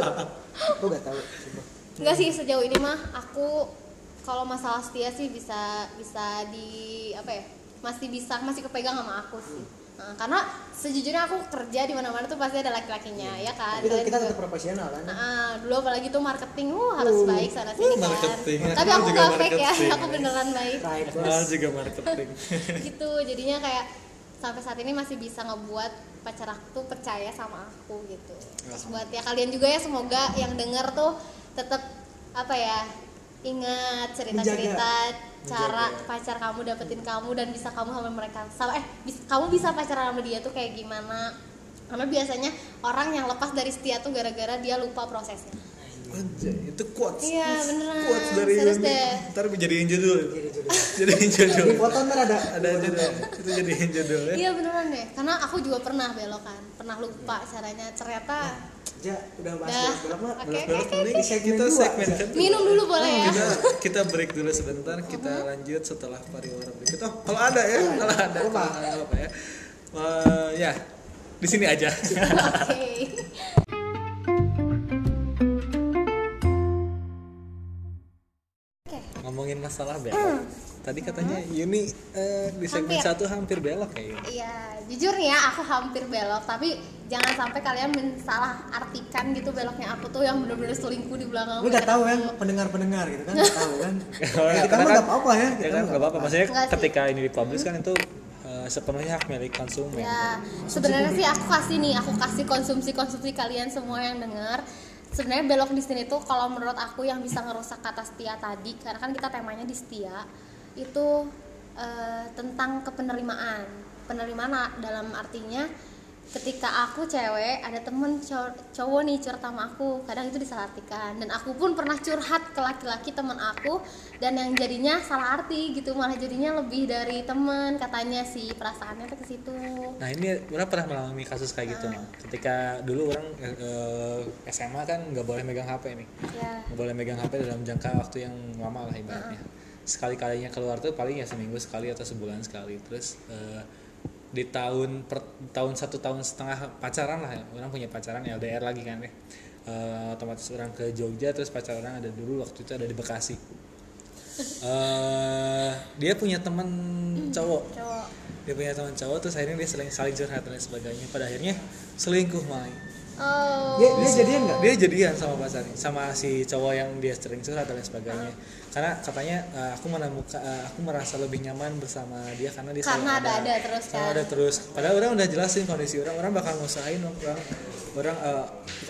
Speaker 2: aku nggak tahu sumpah.
Speaker 3: Enggak sih sejauh ini mah aku kalau masalah setia sih bisa bisa di apa ya? Masih bisa masih kepegang sama aku sih. Nah, karena sejujurnya aku kerja di mana-mana tuh pasti ada laki-lakinya, ya kan?
Speaker 2: Iya. tapi
Speaker 3: Kalian
Speaker 2: kita
Speaker 3: juga.
Speaker 2: tetap profesional kan
Speaker 3: Nah, dulu apalagi tuh marketing, uh, harus
Speaker 2: Uh,
Speaker 3: baik sana sini kan.
Speaker 4: marketing.
Speaker 3: Tapi
Speaker 4: Aku
Speaker 3: aku
Speaker 4: juga
Speaker 3: nggak fake ya,
Speaker 4: marketing.
Speaker 3: aku beneran baik
Speaker 2: right
Speaker 4: Ah,
Speaker 2: bos
Speaker 4: juga marketing.
Speaker 3: gitu. Jadinya kayak sampai saat ini masih bisa ngebuat pacar aku tuh percaya sama aku gitu. Terus buat ya kalian juga ya semoga yang denger tuh tetap apa ya ingat cerita-cerita cara
Speaker 4: Menjaga.
Speaker 3: pacar kamu dapetin kamu dan bisa kamu sama mereka sama eh bis- kamu bisa pacaran sama dia tuh kayak gimana karena biasanya orang yang lepas dari setia tuh gara-gara dia lupa prosesnya
Speaker 4: Anjay, itu quotes.
Speaker 3: Iya, beneran.
Speaker 4: Quotes dari Yuni.
Speaker 3: Serius deh.
Speaker 4: Ntar jadiin judul.
Speaker 2: jadi jodoh
Speaker 4: Jadiin judul.
Speaker 2: di foto ntar ada
Speaker 4: Ada judul. Itu jadiin judul ya.
Speaker 3: iya beneran deh karena aku juga pernah belokan pernah lupa caranya ternyata
Speaker 2: ja Ya, udah bahas
Speaker 3: Dah.
Speaker 2: belum mah
Speaker 3: Oke,
Speaker 4: Belok-belok
Speaker 3: oke,
Speaker 4: mending
Speaker 2: oke. Segmen
Speaker 4: kita
Speaker 1: Gitu,
Speaker 2: dua.
Speaker 4: segmen kedua.
Speaker 3: minum dulu boleh
Speaker 1: Iya.
Speaker 3: ya
Speaker 1: Hmm,
Speaker 4: Kita kita break dulu sebentar, kita lanjut setelah pariwara berikut. Oh, kalau ada ya,
Speaker 1: Iya.
Speaker 4: kalau ada, kalau
Speaker 2: Apa?
Speaker 4: ada apa ya? Eh, ya, di sini aja.
Speaker 3: oke oke
Speaker 1: ngomongin masalah belok tadi katanya Yuni eh, di segmen
Speaker 3: Hampir.
Speaker 1: satu Hmm. hampir belok kayaknya
Speaker 3: Iya, jujur nih ya, aku hampir belok, tapi jangan sampai kalian mensalah artikan gitu beloknya aku tuh yang bener-bener selingkuh di belakang.
Speaker 2: Lu udah tahu kan pendengar-pendengar gitu kan udah tahu kan.
Speaker 1: Orang-
Speaker 2: Ya, kita mah
Speaker 1: karena
Speaker 2: enggak
Speaker 1: kan-
Speaker 2: apa-apa ya.
Speaker 1: ya
Speaker 2: Kita
Speaker 1: kan
Speaker 2: mah
Speaker 1: nggak apa-apa maksudnya
Speaker 3: Nggak sih.
Speaker 1: ketika ini dipublish kan itu eh, sepenuhnya hak milik konsumen
Speaker 3: Ya, sebenarnya sih aku kasih nih, aku kasih konsumsi-konsumsi kalian semua yang dengar. Sebenarnya belok di sini tuh kalau menurut aku yang bisa ngerusak kata setia tadi, karena kan kita temanya di setia, itu eh, tentang kepenerimaan. Penerimaan a- dalam artinya ketika aku cewek ada temen cow- cowok nih curhat sama aku kadang itu disalahartikan dan aku pun pernah curhat ke laki-laki temen aku dan yang jadinya salah arti gitu malah jadinya lebih dari temen katanya sih perasaannya tuh ke situ
Speaker 1: Nah ini orang pernah mengalami kasus kayak gitu mah. Ketika dulu orang eh, eh, SMA kan nggak boleh megang HP nih,
Speaker 3: Ya.
Speaker 1: nggak boleh megang HP dalam jangka waktu yang lama lah ibaratnya. Sekali kalinya keluar tuh paling ya seminggu sekali atau sebulan sekali. Terus eh, di tahun per- tahun satu tahun setengah pacaran lah, ya. orang punya pacaran LDR lagi kan ya. Eh, otomatis orang ke Jogja terus pacar orang ada dulu waktu itu ada di Bekasi. Eh, dia punya teman cowok
Speaker 3: cowok
Speaker 1: dia punya teman cowok terus akhirnya dia saling saling curhat dan lain sebagainya pada akhirnya selingkuh malah
Speaker 3: Oh.
Speaker 2: Dia, dia Ya, jadian nggak?
Speaker 1: dia jadian sama pacarnya sama si cowok yang dia sering curhat dan lain sebagainya karena katanya eh, aku menemukan eh, aku merasa lebih nyaman bersama dia karena dia selalu
Speaker 3: Karena ada-ada terus
Speaker 1: Selalu
Speaker 3: kan?
Speaker 1: ada terus padahal orang udah jelasin kondisi orang orang bakal ngusahain orang orang eh,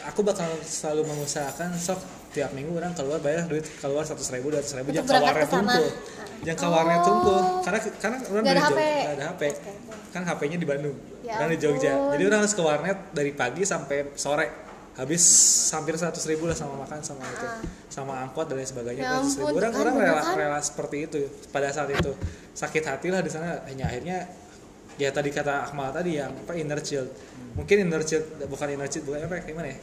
Speaker 1: aku bakal selalu mengusahakan sok tiap minggu orang keluar bayar duit keluar seratus ribu dua ratus ribu
Speaker 3: Untuk
Speaker 1: jangan
Speaker 3: berangkat
Speaker 1: kawarnya
Speaker 3: ke sana.
Speaker 1: tungkul jangan kawarnya
Speaker 3: Oh.
Speaker 1: tungkul karena karena orang
Speaker 3: Nggak
Speaker 1: dari
Speaker 3: ada
Speaker 1: Jogja
Speaker 3: HP.
Speaker 1: nggak ada HP kan HP-nya di Bandung
Speaker 3: Ya
Speaker 1: dan di Jogja
Speaker 3: ampun.
Speaker 1: jadi orang harus ke warnet dari pagi sampai sore habis hampir 100 ribu lah sama makan sama itu sama angkot dan lain sebagainya
Speaker 3: Ah.
Speaker 1: 200
Speaker 3: Ya
Speaker 1: ribu
Speaker 3: ampun,
Speaker 1: orang
Speaker 3: tuh kan,
Speaker 1: orang
Speaker 3: bener
Speaker 1: rela
Speaker 3: kan?
Speaker 1: rela seperti itu pada saat itu sakit hati lah di sana hanya akhirnya ya tadi kata Akmal tadi yang apa inner child mungkin inner child bukan inner child bukan apa ya, gimana ya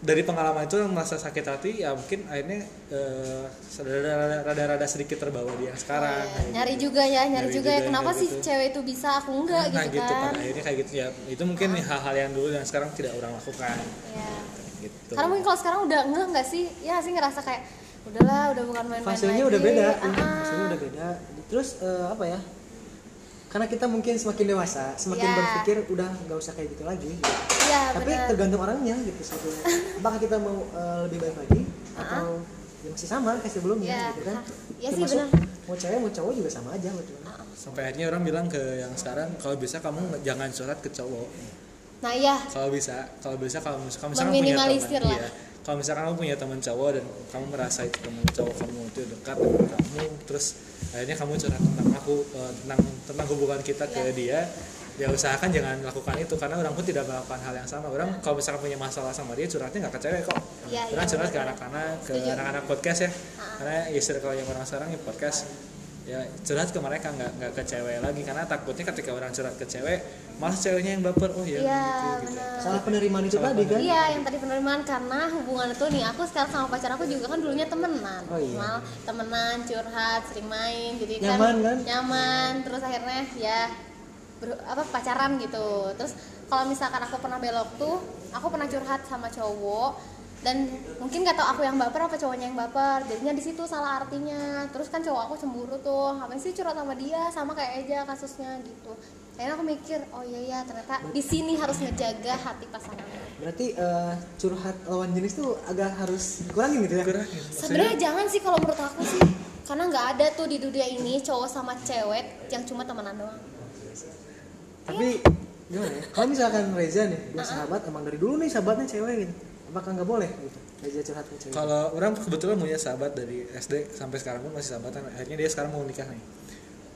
Speaker 1: dari pengalaman itu yang merasa sakit hati ya mungkin akhirnya eh, rada- rada-rada sedikit terbawa dia yang sekarang
Speaker 3: Iya,
Speaker 1: kayak gitu
Speaker 3: nyari juga ya, nyari,
Speaker 1: Nyari
Speaker 3: juga,
Speaker 1: juga
Speaker 3: ya.
Speaker 1: yang
Speaker 3: Kenapa
Speaker 1: kayak
Speaker 3: sih
Speaker 1: gitu.
Speaker 3: cewek itu bisa, aku enggak
Speaker 1: nah
Speaker 3: gitu, kan?
Speaker 1: pada akhirnya kayak gitu ya itu mungkin nih hal-hal yang dulu dan sekarang tidak orang lakukan
Speaker 3: Ya.
Speaker 1: gitu
Speaker 3: Karena mungkin kalau sekarang udah enggak enggak sih? Ya sih ngerasa kayak udahlah, udah bukan main-main
Speaker 2: fasenya
Speaker 3: lagi.
Speaker 2: udah beda
Speaker 3: Ah,
Speaker 2: fasenya udah beda terus eh, apa ya karena kita mungkin semakin dewasa semakin
Speaker 3: Ya.
Speaker 2: berpikir udah nggak usah kayak gitu lagi gitu.
Speaker 3: Iya,
Speaker 2: tapi
Speaker 3: benar.
Speaker 2: tergantung orangnya gitu sebetulnya apakah kita mau eh, lebih baik lagi atau ya masih sama kayak sebelumnya
Speaker 3: Ya.
Speaker 2: gitu kan
Speaker 3: Ya sih,
Speaker 2: Termasuk
Speaker 3: benar. Ah.
Speaker 2: mau cewek mau cowok juga sama aja sebetulnya
Speaker 1: sampai akhirnya orang bilang ke yang sekarang kalau bisa kamu nge- jangan curhat ke cowok
Speaker 3: Nah, ya.
Speaker 1: kalau bisa kalau bisa kalau mis- kalau misalkan kamu punya
Speaker 3: Meminimalisir
Speaker 1: teman
Speaker 3: lah.
Speaker 1: iya. kalau misalkan kamu punya teman cowok dan kamu merasa itu teman cowok kamu itu dekat dengan kamu terus akhirnya kamu curhat tentang aku eh, tentang tentang hubungan kita ke
Speaker 3: Iya.
Speaker 1: dia ya usahakan jangan lakukan itu karena orang pun tidak melakukan hal yang sama orang kalau misalkan punya masalah sama dia curhatnya nggak ke cewek kok
Speaker 3: Iya,
Speaker 1: orang
Speaker 3: iya,
Speaker 1: curhat ke
Speaker 3: benar.
Speaker 1: anak-anak ke
Speaker 3: Setuju. Ah.
Speaker 1: anak-anak podcast ya karena ya circle yang orang sekarang ya podcast ya curhat ke mereka nggak nggak ke cewek lagi karena takutnya ketika orang curhat ke cewek malah ceweknya yang baper oh ya gitu,
Speaker 3: Iya,
Speaker 1: gitu.
Speaker 3: benar.
Speaker 2: salah penerimaan itu
Speaker 1: Salah
Speaker 2: tadi kan
Speaker 3: Iya, yang tadi penerimaan karena hubungan itu nih aku sekarang sama pacar aku juga kan dulunya temenan,
Speaker 2: Oh, iya.
Speaker 3: Mal, temenan, curhat, sering main, jadi
Speaker 2: Nyaman, kan?
Speaker 3: Nyaman, terus akhirnya ya ber- apa pacaran gitu. Terus kalau misalkan aku pernah belok tuh, aku pernah curhat sama cowok dan mungkin gak tau aku yang baper apa cowoknya yang baper jadinya di situ salah artinya terus kan cowok aku cemburu tuh apa sih curhat sama dia sama kayak aja kasusnya gitu akhirnya aku mikir oh iya ya ternyata di sini harus ngejaga hati pasangan
Speaker 2: berarti eh, curhat lawan jenis tuh agak harus dikurangin gitu ya
Speaker 1: Kurangin.
Speaker 3: Sebenarnya jangan sih kalau menurut aku sih, karena nggak ada tuh di dunia ini cowok sama cewek yang cuma temenan doang.
Speaker 2: tapi gimana ya kalau misalkan Reza nih dua sahabat emang dari dulu nih sahabatnya cewek gitu apakah nggak boleh gitu Reza curhat ke cewek
Speaker 1: Kalau orang kebetulan punya sahabat dari SD sampai sekarang pun masih sahabatan. Akhirnya dia sekarang mau nikah nih.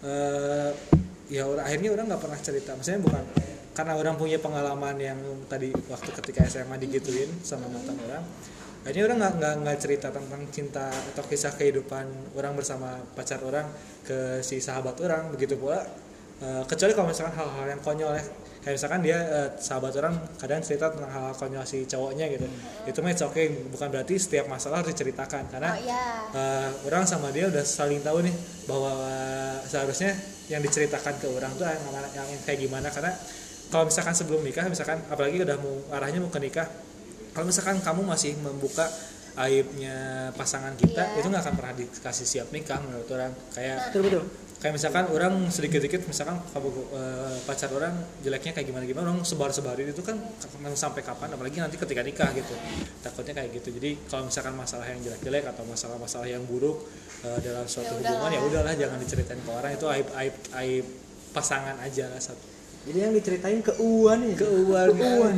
Speaker 1: Eh, ya orang akhirnya orang nggak pernah cerita. Maksudnya bukan karena orang punya pengalaman yang tadi waktu ketika SMA digituin sama mantan orang. Akhirnya orang nggak nggak nggak cerita tentang cinta atau kisah kehidupan orang bersama pacar orang ke si sahabat orang. Begitu pula eh, kecuali kalau misalkan hal-hal yang konyol ya kayak misalkan dia eh, sahabat orang kadang cerita tentang hal, hal konyol si cowoknya gitu itu mah oke bukan berarti setiap masalah harus diceritakan
Speaker 2: Nah.
Speaker 1: karena
Speaker 3: Hmm. Oh iya.
Speaker 1: eh, orang sama dia udah saling tahu nih bahwa eh, seharusnya yang diceritakan ke orang tuh yang, mana- yang kayak gimana karena kalau misalkan sebelum nikah misalkan apalagi udah mau arahnya mau ke nikah kalau misalkan kamu masih membuka aibnya pasangan kita
Speaker 3: Iya.
Speaker 1: itu nggak akan pernah dikasih siap nikah menurut orang kayak
Speaker 2: betul betul
Speaker 1: kayak misalkan orang sedikit-sedikit misalkan kamu, eh, pacar orang jeleknya kayak gimana gimana orang sebar-sebarin itu kan mau sampai kapan apalagi nanti ketika nikah gitu takutnya kayak gitu jadi kalau misalkan masalah yang jelek-jelek atau masalah-masalah yang buruk eh, dalam suatu
Speaker 3: Ya
Speaker 1: hubungan ya
Speaker 3: udahlah.
Speaker 1: udahlah jangan diceritain ke orang itu aib aib aib pasangan aja lah satu
Speaker 2: jadi yang diceritain keuan ya
Speaker 1: keuangan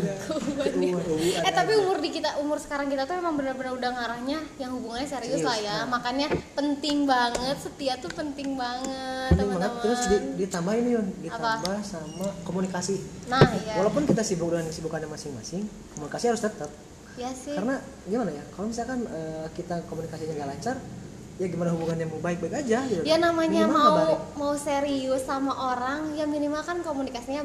Speaker 3: Eh tapi umur di kita umur sekarang kita tuh emang benar-benar udah ngarahnya yang hubungannya serius, lah ya.
Speaker 2: Nah.
Speaker 3: Makanya penting banget setia tuh penting banget
Speaker 2: Penting banget. terus di,
Speaker 3: teman-teman.
Speaker 2: ditambah ini Yun ditambah sama komunikasi
Speaker 3: Nah iya.
Speaker 2: walaupun kita sibuk dengan kesibukannya masing-masing komunikasi harus tetap
Speaker 3: Iya sih.
Speaker 2: karena gimana ya kalau misalkan eh, kita komunikasinya nggak lancar ya gimana hubungannya mau baik-baik aja gitu
Speaker 3: Ya namanya
Speaker 2: Minimal
Speaker 3: mau
Speaker 2: ngabarin.
Speaker 3: mau serius sama orang ya minimal kan komunikasinya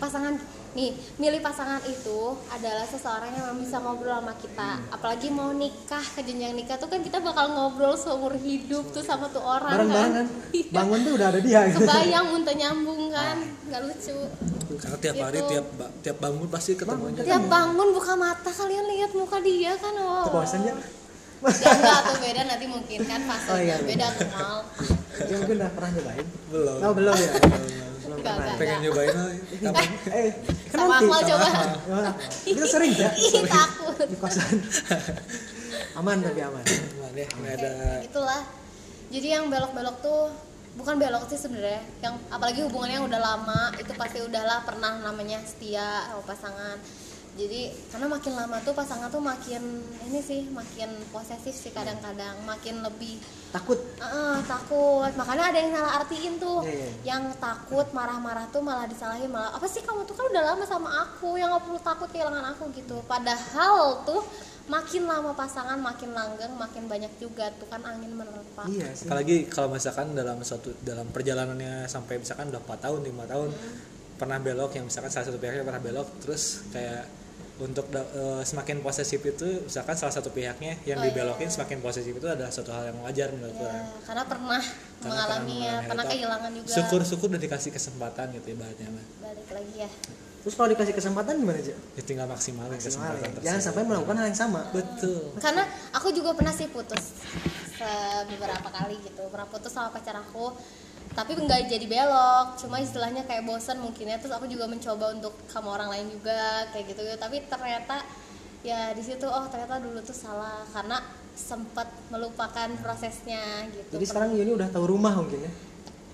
Speaker 2: Ya.
Speaker 3: Pasangan nih, milih pasangan itu adalah seseorang yang memang bisa ngobrol sama kita.
Speaker 2: Hmm.
Speaker 3: Apalagi mau nikah, ke jenjang nikah tuh kan kita bakal ngobrol seumur hidup tuh sama tuh orang
Speaker 2: bareng-bareng kan
Speaker 3: kan. Iya.
Speaker 2: bangun tuh udah ada dia gitu
Speaker 3: Kebayang muntah nyambung kan, nggak lucu.
Speaker 1: karena tiap hari
Speaker 3: Gitu.
Speaker 1: tiap ba- tiap bangun pasti ketemunya
Speaker 3: Tiap bangun buka mata kalian lihat muka dia kan, wow.
Speaker 2: Tuh bosan ya
Speaker 3: Ya enggak tuh beda nanti mungkin kan fasenya
Speaker 2: Oh, iya, iya.
Speaker 3: beda kenal.
Speaker 2: ya mungkin udah pernah nyobain
Speaker 4: belum
Speaker 2: oh belum ya belum
Speaker 3: Enggak,
Speaker 2: pernah
Speaker 3: enggak.
Speaker 4: pengen nyobain lah kapan
Speaker 2: eh kan
Speaker 3: Sama
Speaker 2: nanti
Speaker 3: Akmal coba. Iya.
Speaker 2: Wah, kita sering ya
Speaker 3: Ih, takut
Speaker 2: di kosan aman tapi aman
Speaker 4: Cuman ya nggak
Speaker 3: Oke,
Speaker 4: ada
Speaker 3: gitulah jadi yang belok-belok tuh bukan belok sih sebenarnya yang apalagi hubungannya yang udah lama itu pasti udahlah pernah namanya setia sama pasangan jadi karena makin lama tuh pasangan tuh makin ini sih makin posesif sih kadang-kadang makin lebih
Speaker 2: takut
Speaker 3: "Ah, takut makanya ada yang salah artiin tuh
Speaker 2: Iya, iya.
Speaker 3: yang takut marah-marah tuh malah disalahin malah apa sih kamu tuh kan udah lama sama aku yang nggak perlu takut kehilangan aku gitu padahal tuh makin lama pasangan makin langgeng makin banyak juga tuh kan angin menerpa
Speaker 2: iya sih
Speaker 1: apalagi kalau misalkan dalam suatu dalam perjalanannya sampai misalkan udah 4 tahun 5 tahun pernah belok yang misalkan salah satu pihaknya pernah belok terus kayak untuk da- eh, semakin posesif itu misalkan salah satu pihaknya yang
Speaker 3: Oh,
Speaker 1: dibelokin semakin posesif itu adalah suatu hal yang wajar menurut
Speaker 3: Ya,
Speaker 1: orang
Speaker 3: karena pernah
Speaker 1: Karena
Speaker 3: mengalami ya,
Speaker 1: mengalami
Speaker 3: pernah
Speaker 1: itu.
Speaker 3: kehilangan juga
Speaker 1: syukur syukur udah dikasih kesempatan gitu ibaratnya mah
Speaker 3: balik lagi ya
Speaker 2: terus kalau dikasih kesempatan gimana aja
Speaker 1: ya tinggal maksimalin kesempatan tersebut
Speaker 2: jangan sampai melakukan hal yang sama
Speaker 1: betul
Speaker 3: karena aku juga pernah sih putus se- beberapa kali gitu pernah putus sama pacar aku tapi nggak jadi belok cuma istilahnya kayak bosen mungkinnya terus aku juga mencoba untuk sama orang lain juga kayak gitu tapi ternyata ya di situ oh ternyata dulu tuh salah karena sempat melupakan prosesnya gitu
Speaker 2: jadi sekarang Yuni udah tahu rumah mungkin ya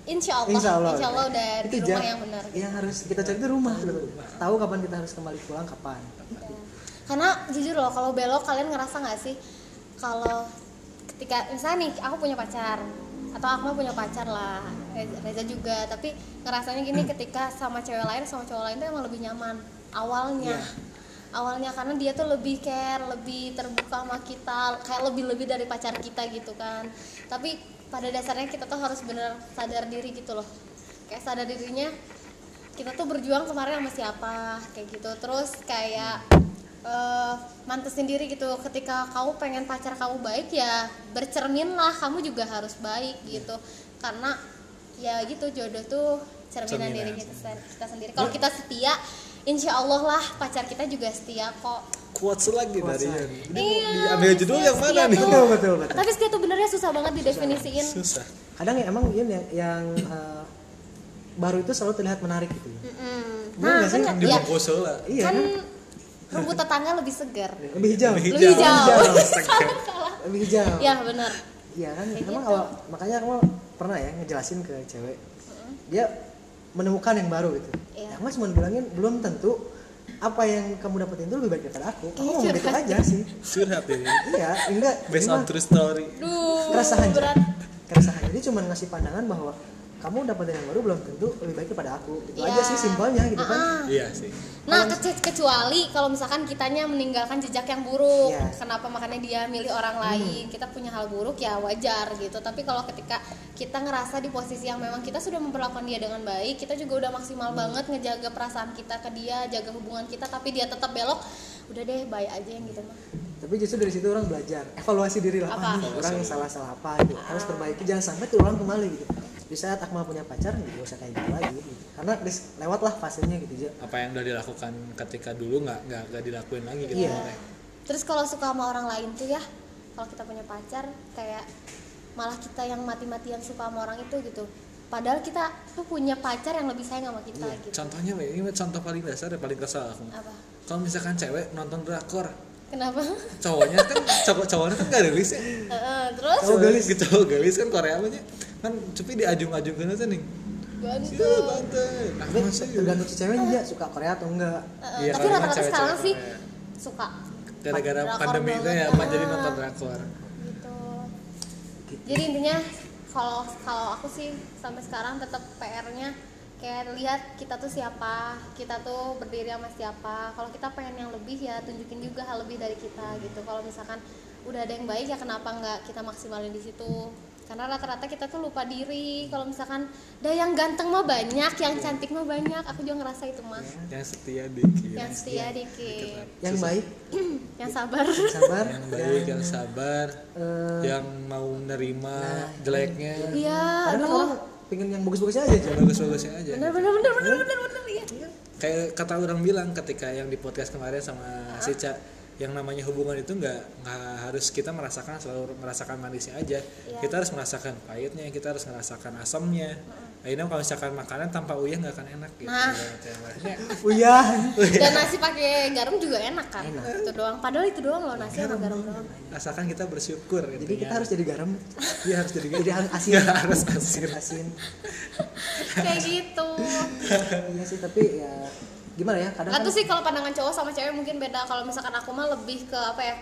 Speaker 3: insya Allah
Speaker 2: Insya Allah.
Speaker 3: udah di
Speaker 2: Itu
Speaker 3: rumah
Speaker 2: jar-
Speaker 3: yang benar gitu.
Speaker 2: Yang harus kita cari itu rumah. sebetulnya. Tahu kapan kita harus kembali pulang kapan.
Speaker 3: Ya. Karena jujur loh, kalau belok kalian ngerasa nggak sih kalau ketika misalnya nih aku punya pacar atau aku punya pacar lah Reza- Reza juga tapi ngerasanya gini ketika sama cewek lain sama cowok lain tuh emang lebih nyaman awalnya awalnya karena dia tuh lebih care lebih terbuka sama kita kayak lebih lebih dari pacar kita gitu kan tapi pada dasarnya kita tuh harus bener sadar diri gitu loh kayak sadar dirinya kita tuh berjuang kemarin sama siapa kayak gitu terus kayak eh, mantesin diri gitu ketika kamu pengen pacar kamu baik ya bercerminlah kamu juga harus baik gitu karena ya gitu jodoh tuh cerminan,
Speaker 1: Cerminan.
Speaker 3: diri kita, sen- kita sendiri kalau kita setia insya Allah lah pacar kita juga setia kok
Speaker 4: quotes lagi
Speaker 2: Quotes
Speaker 4: dari
Speaker 2: lagi.
Speaker 4: Yun. Ini
Speaker 3: Iya,
Speaker 4: mau diambil judul
Speaker 3: setia-
Speaker 4: yang mana
Speaker 3: setia
Speaker 4: nih?
Speaker 3: tuh-
Speaker 2: Betul, betul, betul.
Speaker 3: tapi setia tuh benernya susah banget didefinisiin
Speaker 4: Susah.
Speaker 2: Kadang ya emang Yun yang, yang eh, baru itu selalu terlihat menarik gitu. ya.
Speaker 3: Mm-mm.
Speaker 2: Bener
Speaker 3: nah
Speaker 2: nggak sih?
Speaker 4: Yang
Speaker 3: kan ya,
Speaker 4: dibungkus lah.
Speaker 2: Iya
Speaker 3: kan
Speaker 2: kan?
Speaker 3: rumput tetangga lebih segar
Speaker 4: Iya.
Speaker 2: Lebih hijau.
Speaker 4: Lebih
Speaker 3: lebih
Speaker 4: Hijau.
Speaker 3: jauh
Speaker 2: Lebih hijau.
Speaker 3: ya benar
Speaker 2: Iya kan?
Speaker 3: Kayak
Speaker 2: Emang
Speaker 3: gitu.
Speaker 2: awal makanya kamu pernah ya ngejelasin ke cewek. Dia menemukan yang baru gitu.
Speaker 3: Iya.
Speaker 2: Ya, mas cuma bilangin belum tentu apa yang kamu dapetin itu lebih baik daripada aku. Kamu
Speaker 3: Iya,
Speaker 2: ngomong gitu
Speaker 3: curhat.
Speaker 2: aja sih.
Speaker 4: Curhat ini.
Speaker 2: Iya, enggak.
Speaker 4: Based
Speaker 2: ini
Speaker 4: on
Speaker 2: mah-
Speaker 4: true story.
Speaker 3: Duh,
Speaker 2: keresahan Cak.
Speaker 3: berat.
Speaker 2: keresahan jadi cuma ngasih pandangan bahwa kamu dapat yang baru belum tentu lebih baik daripada aku gitu
Speaker 3: Iya.
Speaker 2: aja sih simpelnya gitu kan
Speaker 3: Ah,
Speaker 1: iya sih
Speaker 3: Nah, kece- kecuali kalau misalkan kitanya meninggalkan jejak yang buruk,
Speaker 2: Iya. Hmm.
Speaker 3: kenapa makanya dia milih orang lain? Kita punya hal buruk ya wajar gitu. Tapi kalau ketika kita ngerasa di posisi yang memang kita sudah memperlakukan dia dengan baik, kita juga udah
Speaker 2: Hmm.
Speaker 3: maksimal banget ngejaga perasaan kita ke dia, jaga hubungan kita, tapi dia tetap belok, udah deh baik aja yang gitu mah.
Speaker 2: tapi justru dari situ orang belajar evaluasi diri lah
Speaker 3: Apa? Ah.
Speaker 2: ah, nih, orang yang salah salah apa gitu harus perbaiki jangan sampai terulang kembali gitu di saat Akmal punya pacar nggak usah kayak gitu lagi gitu. karena dis, lewatlah fasenya gitu aja
Speaker 1: apa yang udah dilakukan ketika dulu nggak nggak nggak dilakuin lagi gitu
Speaker 2: Iya.
Speaker 1: maksudnya.
Speaker 3: Terus kalau suka sama orang lain tuh ya, kalau kita punya pacar kayak malah kita yang mati-matian suka sama orang itu gitu. Padahal kita tuh punya pacar yang lebih sayang sama kita
Speaker 1: Iya.
Speaker 3: gitu.
Speaker 1: contohnya weh, ini contoh paling dasar dan paling kesal aku
Speaker 3: Apa?
Speaker 1: kalau misalkan cewek nonton drakor
Speaker 3: Kenapa?
Speaker 1: cowoknya kan cowok cowoknya kan gak rilis ya
Speaker 3: Heeh, terus
Speaker 2: Cowok gelis.
Speaker 1: gitu cowok gelis kan Korea apa kan tapi diajung-ajungkan aja nih
Speaker 3: bantu.
Speaker 1: Siapa tante? Nah,
Speaker 2: tapi
Speaker 1: masih
Speaker 2: tergantung si ceweknya dia suka Korea atau enggak
Speaker 3: Heeh,
Speaker 1: Iya,
Speaker 3: tapi
Speaker 1: kalau
Speaker 3: rata-rata
Speaker 1: cewek-cewek
Speaker 3: sekarang sih
Speaker 1: Korea.
Speaker 3: suka
Speaker 1: gara-gara
Speaker 3: Drakor
Speaker 1: pandemi itu
Speaker 3: banget.
Speaker 1: ya Pak, jadi nonton drakor
Speaker 3: gitu.
Speaker 2: Gitu.
Speaker 3: Jadi intinya kalau kalau aku sih sampai sekarang tetap PR-nya kayak lihat kita tuh siapa, kita tuh berdiri sama siapa. Kalau kita pengen yang lebih ya tunjukin juga hal lebih dari kita gitu. Kalau misalkan udah ada yang baik ya kenapa nggak kita maksimalin di situ? Karena rata-rata kita tuh lupa diri. Kalau misalkan dah yang ganteng mah banyak, yang cantik mah banyak. Aku juga ngerasa itu mah.
Speaker 1: yang setia dikit
Speaker 3: Yang setia dikit,
Speaker 2: yang baik
Speaker 3: yang sabar.
Speaker 2: yang sabar
Speaker 1: yang baik
Speaker 2: dan,
Speaker 1: yang sabar
Speaker 2: eh,
Speaker 1: yang mau menerima jeleknya
Speaker 3: Iya,
Speaker 2: kadang orang
Speaker 3: aduh.
Speaker 2: pengen yang bagus-bagusnya aja
Speaker 1: yang
Speaker 2: Jon.
Speaker 1: bagus-bagusnya aja
Speaker 3: Bener bener bener bener bener bener iya.
Speaker 1: kayak kata orang bilang ketika yang di podcast kemarin sama si Ca yang namanya hubungan itu nggak nggak harus kita merasakan selalu merasakan manisnya aja
Speaker 2: Iya.
Speaker 1: kita harus merasakan pahitnya kita harus merasakan asamnya akhirnya kalau misalkan makanan tanpa uyah nggak akan enak gitu
Speaker 3: Nah.
Speaker 1: Maksudnya,
Speaker 2: Uyah.
Speaker 3: dan nasi pakai garam juga enak kan
Speaker 2: Enak.
Speaker 3: itu doang padahal itu doang loh nasi sama garam doang
Speaker 1: asalkan kita bersyukur
Speaker 2: Jadi kita harus jadi garam.
Speaker 1: ya harus jadi
Speaker 2: Jadi harus asin.
Speaker 1: Nggak harus asin
Speaker 2: asin.
Speaker 3: kayak gitu
Speaker 2: Iya sih tapi ya gimana ya kadang
Speaker 3: nggak
Speaker 2: kan
Speaker 3: tuh sih kalau pandangan cowok sama cewek mungkin beda kalau misalkan aku mah lebih ke apa ya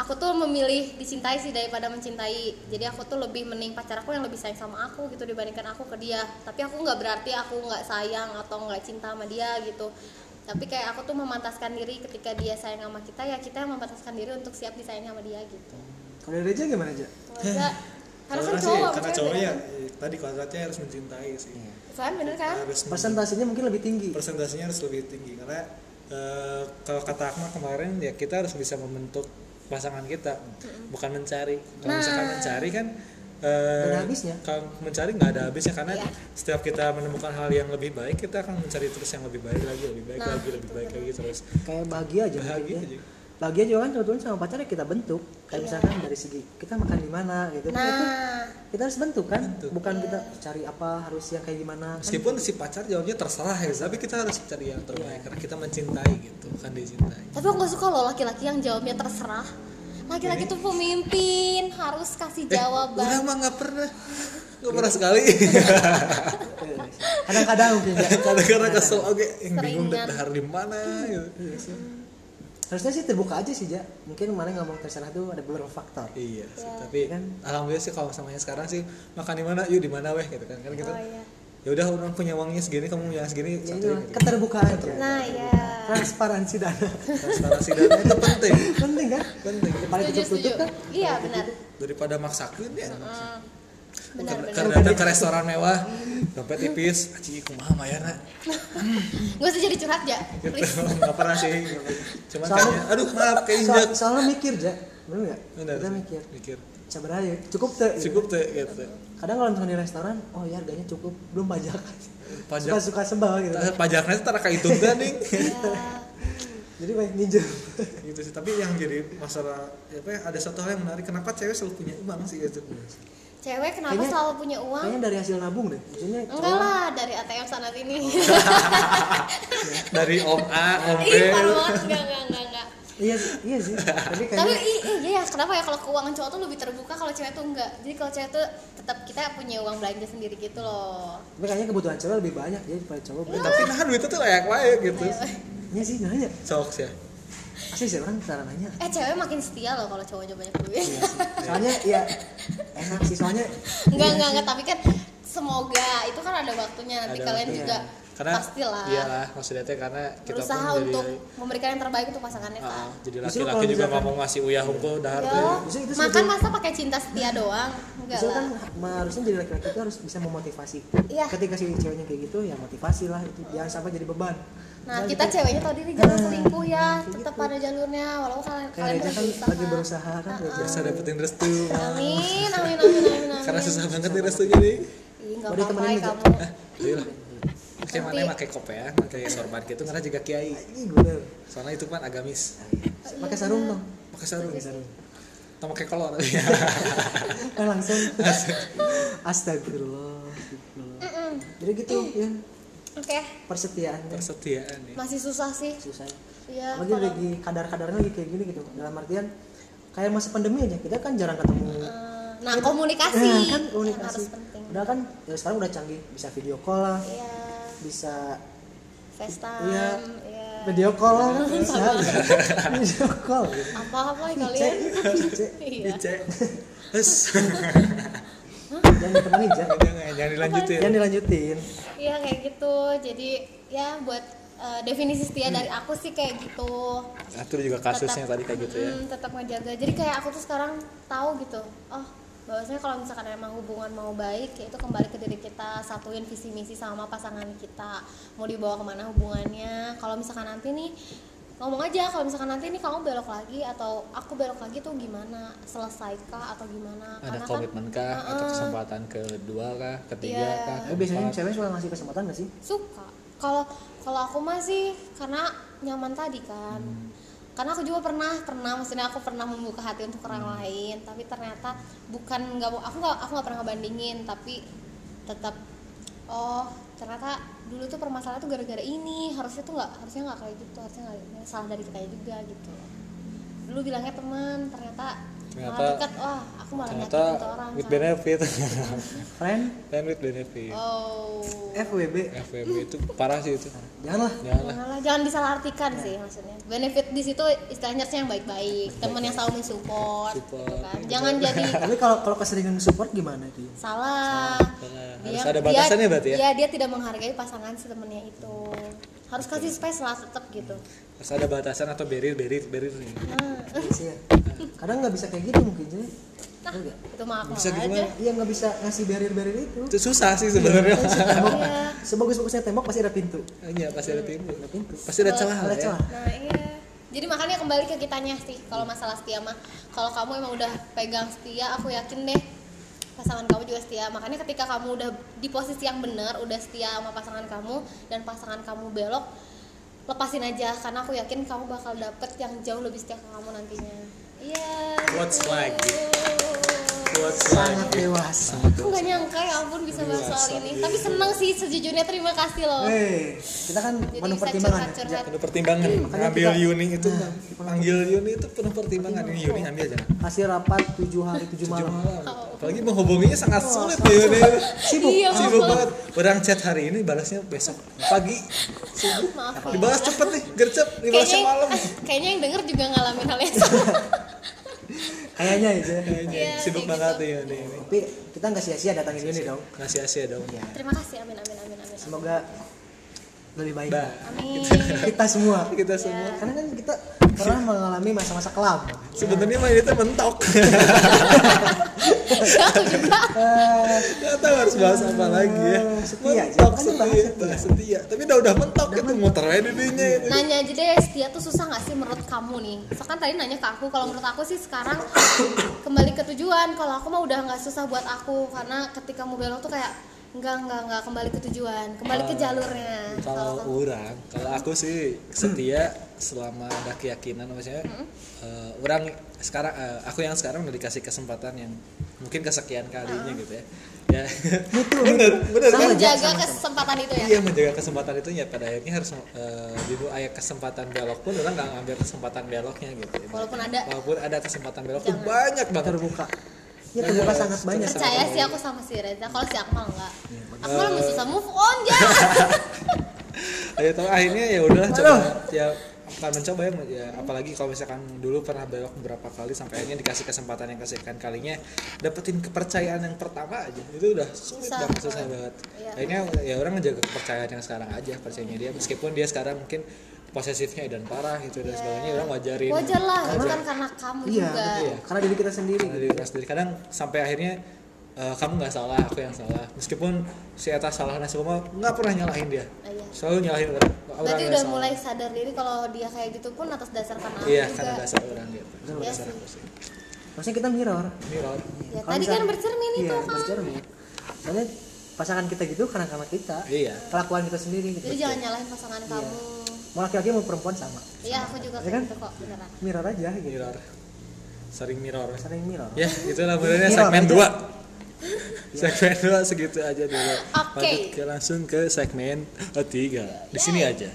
Speaker 3: aku tuh memilih dicintai sih daripada mencintai jadi aku tuh lebih mending pacar aku yang lebih sayang sama aku gitu dibandingkan aku ke dia tapi aku nggak berarti aku nggak sayang atau nggak cinta sama dia gitu tapi kayak aku tuh memantaskan diri ketika dia sayang sama kita ya kita yang memantaskan diri untuk siap disayangi sama dia gitu
Speaker 2: kalau dari Reja gimana aja?
Speaker 3: Enggak. karena kan
Speaker 4: Kalau sih,
Speaker 3: cowok
Speaker 4: karena
Speaker 3: sama
Speaker 4: cowok
Speaker 3: cewek
Speaker 4: ya
Speaker 3: beda.
Speaker 4: eh, tadi kuadratnya harus mencintai sih
Speaker 2: Iya.
Speaker 3: kan bener kan
Speaker 4: harus
Speaker 2: Persentasenya mungkin lebih tinggi.
Speaker 4: persentasenya harus lebih tinggi karena
Speaker 1: Eh, kalau kata Akma kemarin ya kita harus bisa membentuk pasangan kita bukan mencari kalau
Speaker 3: Nah.
Speaker 1: misalkan mencari kan eh,
Speaker 2: Nggak ada habisnya.
Speaker 1: kalau mencari nggak ada habisnya karena
Speaker 3: Iya.
Speaker 1: setiap kita menemukan hal yang lebih baik kita akan mencari terus yang lebih baik lagi lebih baik
Speaker 3: Nah,
Speaker 1: lagi lebih baik lagi terus
Speaker 2: Kayak bahagia aja. Iya.
Speaker 1: Bahagia
Speaker 2: mungkin ya.
Speaker 1: aja.
Speaker 2: Bahagia juga kan kebetulan sama pacarnya kita bentuk. Kayak misalkan dari segi kita makan di mana gitu. Kan itu
Speaker 3: nah
Speaker 2: kita harus bentuk kan, bukan kita cari apa harus yang kayak gimana. Kan
Speaker 1: meskipun si pacar jawabnya terserah ya tapi kita harus cari yang terbaik karena kita mencintai gitu kan dicintai
Speaker 3: tapi aku gak suka loh laki-laki yang jawabnya terserah laki-laki tuh pemimpin harus kasih
Speaker 2: Eh,
Speaker 1: Eh, udah
Speaker 3: jawaban
Speaker 1: mah nggak pernah nggak pernah sekali
Speaker 2: Iya, kadang-kadang mungkin ya.
Speaker 1: karena kesel oke yang bingung
Speaker 3: Iya. Seringan. Iya.
Speaker 1: dahar di mana gitu.
Speaker 2: Harusnya sih terbuka aja sih, Ja. Mungkin kemarin ngomong terserah tuh ada beberapa faktor.
Speaker 1: Iya, sih.
Speaker 3: Ya.
Speaker 1: tapi
Speaker 2: Kan?
Speaker 1: alhamdulillah sih kalau samanya sekarang sih makan di mana, yuk di mana weh gitu kan. Kan kita
Speaker 3: Oh, iya.
Speaker 1: ya udah orang punya uangnya segini, kamu punya segini satu
Speaker 2: Ya, itu
Speaker 1: gitu.
Speaker 2: keterbukaan aja.
Speaker 3: nah ya
Speaker 2: Transparansi dana.
Speaker 1: Transparansi dana itu penting,
Speaker 2: Penting kan?
Speaker 1: penting
Speaker 2: Paling
Speaker 3: setuju setuju
Speaker 2: tutup-tutup kan?
Speaker 3: iya benar
Speaker 1: daripada maksakin ya.
Speaker 3: Hmm. benar benar
Speaker 1: Karena datang ke restoran mewah, dompet tipis, aci kumaha mayarna.
Speaker 3: gak usah jadi curhat ya
Speaker 1: Gitu.
Speaker 3: please
Speaker 1: Enggak pernah sih. gitu. Cuman
Speaker 2: Soalnya-
Speaker 1: kayaknya aduh maaf
Speaker 2: Soal-
Speaker 1: keinjak.
Speaker 2: soalnya mikir aja bener nggak
Speaker 1: Benar,
Speaker 2: kita mikir
Speaker 1: mikir.
Speaker 2: sabar aja cukup teh gitu.
Speaker 1: Cukup tuh gitu.
Speaker 2: kadang kalau misalnya di restoran oh ya harganya cukup belum pajak
Speaker 1: Pajak.
Speaker 2: suka suka sebal gitu
Speaker 1: Pajaknya tuh tara kahitung teh ning.
Speaker 2: jadi baik ninja
Speaker 4: gitu sih tapi yang jadi masalah apa ya, ada satu hal yang menarik kenapa cewek selalu punya uang sih
Speaker 1: ya,
Speaker 4: gitu
Speaker 3: cewek kenapa
Speaker 2: Kayaknya-
Speaker 3: selalu punya uang
Speaker 2: kayaknya dari hasil nabung deh maksudnya
Speaker 3: enggak lah dari ATM sana
Speaker 2: Oh,
Speaker 3: sini
Speaker 2: iya.
Speaker 1: Dari Om A, Om B.
Speaker 3: ih malu banget enggak enggak enggak enggak
Speaker 2: iya sih- iya sih tapi
Speaker 3: tapi
Speaker 2: kayaknya
Speaker 3: i- i- iya ya kenapa ya kalau keuangan cowok tuh lebih terbuka kalau cewek tuh enggak jadi kalau cewek tuh tetap kita punya uang belanja sendiri gitu loh
Speaker 2: tapi kayaknya kebutuhan cewek lebih banyak jadi daripada cowok
Speaker 1: Ya, tapi nah duitnya tuh layak layak gitu.
Speaker 2: iya sih nanya
Speaker 1: Sok ya.
Speaker 2: asli sih orang cara nanya
Speaker 3: eh cewek makin setia loh kalau cowoknya banyak duit
Speaker 2: Iya sih. soalnya ya enak sih soalnya
Speaker 3: enggak enggak enggak tapi kan semoga itu kan ada waktunya nanti
Speaker 1: Ada
Speaker 3: kalian
Speaker 2: waktunya.
Speaker 3: juga
Speaker 1: karena
Speaker 3: pastilah
Speaker 1: iyalah maksudnya teh karena kita
Speaker 3: berusaha
Speaker 1: pun
Speaker 3: untuk
Speaker 1: jadi
Speaker 3: memberikan yang terbaik untuk pasangannya
Speaker 1: Ah,
Speaker 3: kan
Speaker 1: ah, jadi
Speaker 2: Justru
Speaker 1: laki-laki
Speaker 2: kalau
Speaker 1: juga
Speaker 2: misalkan-
Speaker 1: ngomong masih uyah hukum dahar
Speaker 3: Ya,
Speaker 1: teh.
Speaker 2: Maksudnya itu
Speaker 3: makan
Speaker 2: sebetulnya-
Speaker 3: masa pakai cinta setia doang enggak
Speaker 2: Justru
Speaker 3: lah
Speaker 2: kan harusnya jadi laki-laki itu harus bisa memotivasi.
Speaker 3: Iya.
Speaker 2: Ketika si ceweknya kayak gitu ya motivasi lah itu jangan sampai jadi beban.
Speaker 3: nah
Speaker 2: Misalnya
Speaker 3: kita
Speaker 2: gitu,
Speaker 3: ceweknya tau diri jangan
Speaker 2: Ah,
Speaker 3: selingkuh ya
Speaker 2: kayak
Speaker 3: tetap
Speaker 2: gitu.
Speaker 3: pada jalurnya walaupun kalian
Speaker 2: kayak
Speaker 3: kalian
Speaker 2: Reja kan
Speaker 3: berusaha.
Speaker 2: lagi berusaha kan Reja.
Speaker 1: bisa dapetin restu
Speaker 3: amin amin amin amin amin
Speaker 1: karena susah banget nih restunya nih
Speaker 3: Ih, enggak
Speaker 2: Mau
Speaker 3: apa-apa
Speaker 2: ditemenin
Speaker 3: ya
Speaker 2: nggak?
Speaker 3: kamu.
Speaker 1: Iya lah. Kayak
Speaker 3: Nanti-
Speaker 1: mana pakai kopea, pakai sorban gitu karena juga kiai.
Speaker 2: Ini bener.
Speaker 1: Soalnya itu kan agamis.
Speaker 3: Oh,
Speaker 2: Pakai sarung
Speaker 3: iya.
Speaker 2: dong.
Speaker 1: Pakai sarung,
Speaker 2: Pakai sarung.
Speaker 1: atau pakai kolor.
Speaker 2: Iya. Eh langsung. Astagfirullah. astagfirullah. Jadi gitu
Speaker 3: Iya.
Speaker 2: ya
Speaker 3: Oke,
Speaker 2: persetiaannya
Speaker 1: Persetiaan ya.
Speaker 3: masih susah sih.
Speaker 2: susah.
Speaker 3: Iya,
Speaker 2: Apalagi gitu.
Speaker 3: kalau-
Speaker 2: lagi kadar-kadarnya lagi kayak gini gitu. Dalam artian kayak masa pandemi aja kita kan jarang ketemu.
Speaker 3: Eh, nah komunikasi
Speaker 2: Nah, kan
Speaker 3: yang
Speaker 2: komunikasi.
Speaker 3: harus penting.
Speaker 2: Udah kan ya sekarang udah canggih bisa video call lah,
Speaker 3: Iya,
Speaker 2: bisa
Speaker 3: FaceTime,
Speaker 2: Iya.
Speaker 3: iya.
Speaker 2: video call lah kan bisa video call gitu.
Speaker 3: Apa-apa
Speaker 1: Iya.
Speaker 3: ya
Speaker 2: Cek,
Speaker 3: kalian?
Speaker 2: cek.
Speaker 3: Iya.
Speaker 1: Cek. Terus
Speaker 2: jangan ditemenin Jack.
Speaker 1: jangan jangan dilanjutin.
Speaker 2: jangan dilanjutin
Speaker 3: Iya kayak gitu. Jadi ya buat eh, definisi setia dari aku sih kayak gitu.
Speaker 1: Atur juga Hmm. kasusnya
Speaker 3: Tetap-
Speaker 1: tadi kayak gitu ya.
Speaker 3: Mm, tetap ngejaga. Jadi kayak aku tuh sekarang tahu gitu. Oh, bahwasanya kalau misalkan emang hubungan mau baik, ya itu kembali ke diri kita, satuin visi misi sama pasangan kita. Mau dibawa kemana hubungannya? Kalau misalkan nanti nih ngomong aja kalau misalkan nanti nih kamu belok lagi atau aku belok lagi tuh gimana selesai kah atau gimana
Speaker 1: Ada
Speaker 3: Karena kan-
Speaker 1: komitmen kah atau
Speaker 3: Heeh.
Speaker 1: kesempatan kedua kah, ketiga
Speaker 3: Iya.
Speaker 1: kah?
Speaker 2: tapi Oh, biasanya
Speaker 1: keempat?
Speaker 2: cewek suka ngasih kesempatan gak sih
Speaker 3: suka kalau kalau aku masih karena nyaman tadi kan karena aku juga pernah pernah maksudnya aku pernah membuka hati untuk orang
Speaker 1: Hmm.
Speaker 3: lain tapi ternyata bukan nggak mau aku nggak aku nggak pernah ngebandingin tapi tetap oh ternyata dulu tuh permasalahan tuh gara-gara ini harusnya tuh nggak harusnya nggak kayak gitu harusnya nggak kayak gitu. salah dari kita juga gitu dulu bilangnya teman ternyata
Speaker 1: Ternyata-
Speaker 3: malah dekat wah aku malah
Speaker 1: ternyata
Speaker 3: nyakitin tuh orang kan.
Speaker 1: with
Speaker 3: sama-
Speaker 1: benefit
Speaker 2: friend
Speaker 1: dan with benefit
Speaker 3: oh
Speaker 2: FWB
Speaker 1: FWB itu parah sih itu Ya
Speaker 2: janganlah
Speaker 1: janganlah
Speaker 3: Janganlah, jangan disalahartikan sih maksudnya. Benefit di situ istilahnya harusnya yang baik-baik, teman yang selalu mensupport, gitu
Speaker 1: Support.
Speaker 3: kan. Jangan jadi
Speaker 2: tapi kalau kalau keseringan support gimana dia
Speaker 3: salah.
Speaker 1: Salah. Harus ada batasannya berarti ya?
Speaker 3: Iya, dia tidak menghargai pasangan si temennya itu. Harus kasih space lah tetap gitu.
Speaker 1: harus ada batasan atau barrier barrier barrier nih.
Speaker 3: Nah,
Speaker 2: sih ya kadang nggak bisa kayak gitu mungkin jadi
Speaker 3: itu mah aku
Speaker 1: Bisa gitu
Speaker 3: aja.
Speaker 2: iya nggak bisa ngasih barrier-barrier itu
Speaker 1: itu susah sih sebenarnya
Speaker 2: tembok
Speaker 3: Iya.
Speaker 2: sebagus-bagusnya tembok pasti ada pintu
Speaker 1: iya pasti ada timbul
Speaker 2: ada pintu
Speaker 1: pasti ada celah
Speaker 2: ada
Speaker 1: lah ya
Speaker 2: celah
Speaker 3: Nah, iya. Jadi makanya kembali ke kitanya sih kalau masalah setia mah. Kalau kamu emang udah pegang setia, aku yakin deh pasangan kamu juga setia. Makanya ketika kamu udah di posisi yang benar, udah setia sama pasangan kamu dan pasangan kamu belok, lepasin aja karena aku yakin kamu bakal dapet yang jauh lebih setia ke kamu nantinya. Iya.
Speaker 1: What's
Speaker 3: gitu.
Speaker 1: like, gitu. What's
Speaker 2: sangat dewasa
Speaker 3: Aku gak nyangka ya ampun bisa bahas soal ini. Tapi seneng sih sejujurnya terima kasih loh.
Speaker 2: Weh, kita kan
Speaker 3: Oh. Jadi
Speaker 2: penuh
Speaker 3: bisa
Speaker 2: pertimbangan ya.
Speaker 3: curhat-curhat.
Speaker 1: penuh pertimbangan ngambil
Speaker 2: kita-
Speaker 1: Yuni itu
Speaker 2: Nah,
Speaker 1: panggil Yuni itu penuh pertimbangan ini Yuni ambil jangan
Speaker 2: Kasih rapat 7 hari 7 malam.
Speaker 1: Malam. apalagi menghubunginya sangat sulit ya Yuni
Speaker 2: Sibuk.
Speaker 3: Iya,
Speaker 1: sibuk
Speaker 3: maaf.
Speaker 1: banget orang chat hari ini balasnya besok pagi
Speaker 3: Maaf ya.
Speaker 1: dibalas cepet nih gercep dibalasnya
Speaker 3: kayaknya,
Speaker 1: malam
Speaker 3: ah, kayaknya yang denger juga ngalamin hal yang sama.
Speaker 2: Kayaknya ya, aja.
Speaker 1: Kayaknya
Speaker 3: Iya,
Speaker 1: sibuk
Speaker 3: kayak
Speaker 1: banget
Speaker 3: gitu.
Speaker 1: ya Yuni ini
Speaker 2: Tapi kita nggak sia-sia datangin ini dong.
Speaker 1: ngasih asia dong
Speaker 3: Terima kasih, amin, amin, amin, amin.
Speaker 2: Semoga lebih baik.
Speaker 1: Bah,
Speaker 3: Amin.
Speaker 2: Kita semua.
Speaker 1: kita semua
Speaker 2: Karena kan kita pernah mengalami masa-masa kelam.
Speaker 1: sebenarnya mah itu mentok
Speaker 3: Aku juga.
Speaker 2: Eh,
Speaker 1: Gak tahu harus bahas apa lagi ya.
Speaker 2: Setia,
Speaker 1: mentok
Speaker 2: jangan
Speaker 1: setia,
Speaker 2: bahas
Speaker 1: setia. Tapi udah udah mentok itu muter aja dirinya itu.
Speaker 3: Nanya aja deh, setia tuh susah gak sih menurut kamu nih? Soalnya kan tadi nanya ke aku, kalau menurut aku sih sekarang kembali ke tujuan. Kalau aku mah udah nggak susah buat aku, karena ketika mau belok tuh kayak enggak enggak enggak kembali ke tujuan, kembali ke jalurnya.
Speaker 1: Kalau
Speaker 3: Kalau
Speaker 1: orang, kalau aku sih setia selama ada keyakinan maksudnya eh, orang sekarang eh, aku yang sekarang udah dikasih kesempatan yang mungkin kesekian kalinya
Speaker 3: Ah.
Speaker 1: gitu ya. Ya. bener, bener kan?
Speaker 3: menjaga kesempatan itu ya.
Speaker 1: Iya menjaga kesempatan itu ya pada akhirnya harus eh, di bu- ayat kesempatan belok pun orang nggak ngambil kesempatan beloknya gitu.
Speaker 3: Walaupun ada.
Speaker 1: Walaupun ada kesempatan belok tuh banyak banget.
Speaker 2: terbuka.
Speaker 1: Iya.
Speaker 2: Ya terbuka
Speaker 1: Banyak.
Speaker 2: sangat banyak.
Speaker 3: Percaya sih aku sama si Reza, kalau si aku mah enggak.
Speaker 1: Iya,
Speaker 3: Aku mah lebih susah move on ya.
Speaker 1: ya tahu akhirnya ya udahlah coba
Speaker 2: Aduh.
Speaker 1: ya akan mencoba ya, ya, apalagi kalau misalkan dulu pernah belok beberapa kali sampai akhirnya dikasih kesempatan yang kesekian kalinya dapetin kepercayaan yang pertama aja itu udah sulit
Speaker 3: Susah.
Speaker 1: banget susah banget
Speaker 3: Iya.
Speaker 1: akhirnya ya orang ngejaga kepercayaan yang sekarang aja percayanya dia meskipun dia sekarang mungkin posesifnya dan parah gitu dan sebagainya orang wajarin
Speaker 3: Iya. Wajar lah, itu kan karena kamu
Speaker 2: Iya,
Speaker 3: juga.
Speaker 2: betul. karena diri kita sendiri.
Speaker 1: Karena diri kita sendiri kadang sampai akhirnya eh, kamu nggak salah aku yang salah meskipun si Eta salah nah semua nggak pernah nyalahin dia
Speaker 3: Ah, iya.
Speaker 1: selalu nyalahin orang orang
Speaker 3: Berarti
Speaker 1: yang
Speaker 3: udah
Speaker 1: salah.
Speaker 3: mulai sadar diri kalau dia kayak gitu pun atas dasar karena aku
Speaker 1: Iya,
Speaker 3: juga. Ya,
Speaker 1: karena dasar orang gitu.
Speaker 3: Iya
Speaker 1: dasar
Speaker 3: sih.
Speaker 1: aku sih.
Speaker 2: Maksudnya kita mirror.
Speaker 1: Mirror.
Speaker 3: Ya,
Speaker 2: Kalau
Speaker 3: tadi
Speaker 2: misalnya-
Speaker 3: kan bercermin itu
Speaker 2: iya,
Speaker 3: kan.
Speaker 2: bercermin. Soalnya pasangan kita gitu karena karena kita.
Speaker 1: Iya.
Speaker 2: Kelakuan kita sendiri gitu.
Speaker 3: Jadi jangan nyalahin pasangan kamu.
Speaker 2: Mau laki-laki mau perempuan sama.
Speaker 3: Iya, aku juga
Speaker 2: Iya kan?
Speaker 3: kayak gitu kok, beneran.
Speaker 2: Mirror aja gitu.
Speaker 1: Mirror. Sering mirror.
Speaker 2: Sering mirror.
Speaker 1: Ya, itulah sebenarnya
Speaker 2: Mirror
Speaker 1: segmen
Speaker 2: aja.
Speaker 1: 2. Segmen 2 segitu aja dulu.
Speaker 3: Oke.
Speaker 1: Lanjut ke langsung ke segmen 3. Di sini aja.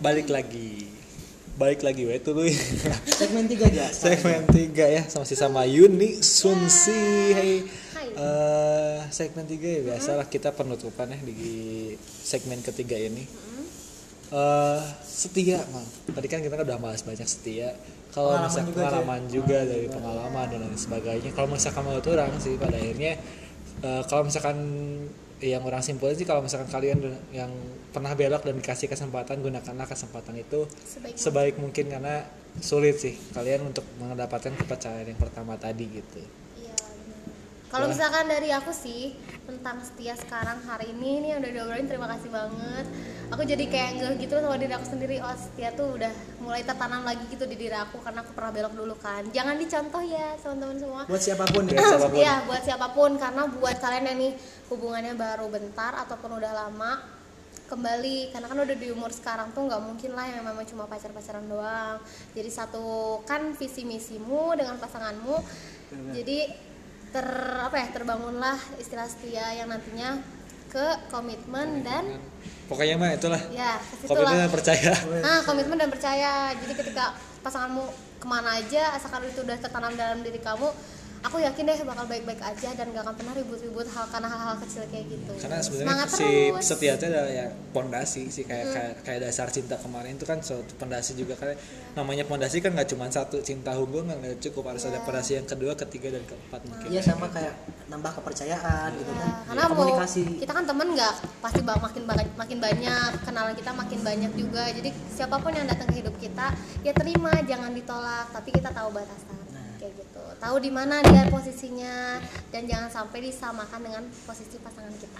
Speaker 1: Balik lagi. Balik lagi we tuh Luy.
Speaker 2: Segmen 3 aja.
Speaker 1: segmen 3 ya sama sih sama Yuni Sunsi. Hey.
Speaker 3: Hai.
Speaker 1: eh segmen 3 ya biasalah kita penutupan ya di segmen ketiga ini. eh setia, Mang. Tadi kan kita udah bahas banyak setia. Kalau
Speaker 2: Pengalaman
Speaker 1: misalkan
Speaker 2: juga,
Speaker 1: pengalaman juga dari pengalaman dan lain sebagainya. Kalau misalkan menurut orang sih pada akhirnya eh, kalau misalkan yang orang simpulin sih kalau misalkan kalian yang pernah belok dan dikasih kesempatan gunakanlah kesempatan itu
Speaker 3: Sebaik
Speaker 1: sebaik mungkin karena sulit sih kalian untuk mendapatkan kepercayaan yang pertama tadi gitu.
Speaker 3: Iya, bener. Kalau
Speaker 2: Iya.
Speaker 3: misalkan dari aku sih tentang setia sekarang hari ini ini yang udah diobrolin terima kasih banget. Aku jadi kayak ngeh gitu sama diri aku sendiri. Oh setia tuh udah mulai tertanam lagi gitu di diri aku karena aku pernah belok dulu kan. Jangan dicontoh ya teman-teman semua.
Speaker 2: Buat siapapun ya.
Speaker 1: Buat siapapun.
Speaker 3: Iya, buat siapapun karena buat kalian yang nih hubungannya baru bentar ataupun udah lama kembali karena kan udah di umur sekarang tuh nggak mungkin lah yang memang cuma pacar pacaran doang jadi satukan visi misimu dengan pasanganmu
Speaker 1: Iya.
Speaker 3: jadi ter apa ya terbangunlah istilah setia yang nantinya ke komitmen dan
Speaker 1: pokoknya mah itulah
Speaker 3: ya ke situ
Speaker 1: komitmen
Speaker 3: lah
Speaker 1: dan percaya
Speaker 3: Nah, komitmen dan percaya. Jadi ketika pasanganmu kemana aja, asalkan itu udah tertanam dalam diri kamu, aku yakin deh bakal baik-baik aja dan gak akan pernah ribut-ribut hal karena hal-hal kecil kayak gitu.
Speaker 1: karena sebenarnya
Speaker 3: Semangat
Speaker 1: si
Speaker 3: terus.
Speaker 1: setia itu adalah ya pondasi sih kayak, kayak kayak dasar cinta kemarin itu kan suatu pondasi juga karena namanya pondasi kan nggak cuma satu cinta hukum kan nggak cukup harus ada pondasi yang kedua ketiga dan keempat mungkin
Speaker 2: Iya sama kayak nambah kepercayaan gitu
Speaker 3: Ya,
Speaker 2: kan.
Speaker 3: karena mau
Speaker 2: Komunikasi.
Speaker 3: kita kan temen nggak pasti bak- makin ba- makin banyak kenalan kita makin banyak juga. Jadi siapapun yang datang ke hidup kita ya terima, jangan ditolak. Tapi kita tahu batasan
Speaker 2: Nah.
Speaker 3: kayak gitu. Tahu di mana dia posisinya dan jangan sampai disamakan dengan posisi pasangan kita.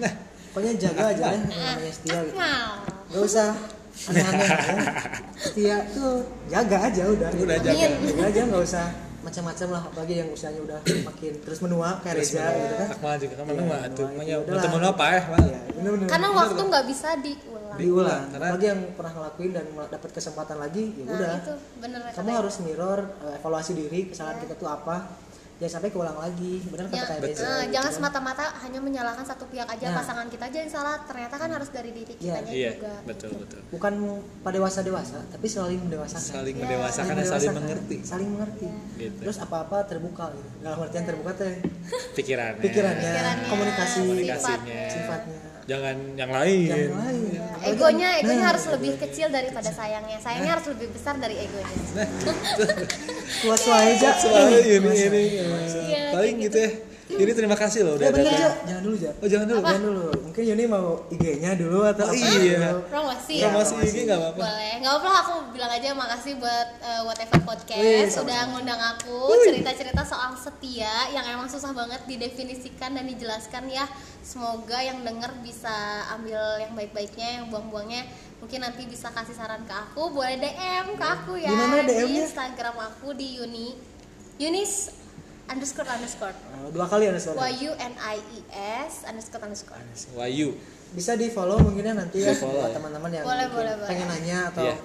Speaker 1: nah
Speaker 2: Pokoknya jaga aja ya
Speaker 3: Iya.
Speaker 2: yang namanya
Speaker 1: Iya.
Speaker 2: setia gitu.
Speaker 3: Nah.
Speaker 2: Gak usah aneh-aneh ya. Setia tuh jaga aja udah. gitu.
Speaker 1: Udah
Speaker 3: jaga.
Speaker 2: Jaga aja nggak usah macam-macam lah apalagi yang usianya udah makin terus menua kayak Reza gitu kan.
Speaker 1: akmal juga kan memang
Speaker 2: Iya,
Speaker 1: mah tuh
Speaker 2: memang
Speaker 1: makanya
Speaker 2: itu udah.
Speaker 1: bertemu apa ya Mal?
Speaker 2: Iya, bener-bener.
Speaker 3: karena waktu nggak bisa diulang
Speaker 2: diulang
Speaker 1: Karena-
Speaker 2: apalagi yang pernah ngelakuin dan dapat kesempatan lagi ya
Speaker 3: nah
Speaker 2: udah
Speaker 3: itu Iya. bener kata Ya,
Speaker 2: kamu harus mirror eh, evaluasi diri kesalahan kita tuh apa jangan sampai keulang lagi benar kata
Speaker 3: Ya,
Speaker 2: kayak
Speaker 3: eh,
Speaker 2: Reza gitu
Speaker 3: jangan
Speaker 2: kan.
Speaker 3: semata-mata hanya menyalahkan satu pihak aja
Speaker 2: Nah.
Speaker 3: pasangan kita aja yang salah ternyata kan harus dari diri
Speaker 2: Iya.
Speaker 3: kitanya
Speaker 1: iya
Speaker 3: juga
Speaker 1: betul betul
Speaker 2: bukan pada dewasa dewasa tapi saling mendewasakan
Speaker 1: saling
Speaker 3: Iya.
Speaker 1: mendewasakan dan saling mengerti
Speaker 2: saling mengerti
Speaker 1: Gitu. Nah,
Speaker 2: terus apa apa terbuka gitu dalam artian terbuka teh
Speaker 1: pikirannya
Speaker 2: pikirannya,
Speaker 3: Pikirannya, eh,
Speaker 2: komunikasi
Speaker 1: komunikasinya
Speaker 2: sifatnya
Speaker 1: jangan yang lain
Speaker 2: yang lain
Speaker 3: Ya,
Speaker 2: Apalagi-
Speaker 3: egonya egonya
Speaker 2: Nah,
Speaker 3: harus lebih kecil daripada sayangnya sayangnya harus lebih besar dari egonya
Speaker 2: Nah. tua tua aja
Speaker 1: Soalnya ini
Speaker 2: Tua-tua.
Speaker 1: ini
Speaker 3: Iya,
Speaker 1: eh, paling gitu ya ini terima kasih loh udah
Speaker 2: Ya, bener, Ja.
Speaker 1: datang
Speaker 2: jangan dulu ja
Speaker 1: oh jangan dulu
Speaker 2: jangan dulu mungkin Yuni mau IG-nya dulu
Speaker 1: Oh,
Speaker 2: atau apa
Speaker 1: iya.
Speaker 2: dulu.
Speaker 3: promosi
Speaker 2: Iya,
Speaker 1: promosi
Speaker 2: promosi.
Speaker 1: ini nggak apa-apa
Speaker 3: boleh nggak apa aku bilang aja makasih buat eh, whatever podcast
Speaker 2: Wih, sama-sama.
Speaker 3: udah ngundang aku cerita cerita soal setia yang emang susah banget didefinisikan dan dijelaskan ya semoga yang denger bisa ambil yang baik baiknya yang buang buangnya mungkin nanti bisa kasih saran ke aku boleh dm ke aku ya
Speaker 2: Di mana
Speaker 3: di
Speaker 2: DM-nya?
Speaker 3: instagram aku di uni yunis underscore underscore
Speaker 2: Eh, dua kali ada suara
Speaker 3: y u n i e s underscore underscore
Speaker 1: Wayu
Speaker 2: bisa di follow mungkin ya nanti ya
Speaker 1: Di follow,
Speaker 2: buat
Speaker 1: ya.
Speaker 2: teman-teman yang
Speaker 3: Boleh,
Speaker 2: mungkin
Speaker 3: boleh, boleh.
Speaker 2: pengen nanya atau
Speaker 1: Iya.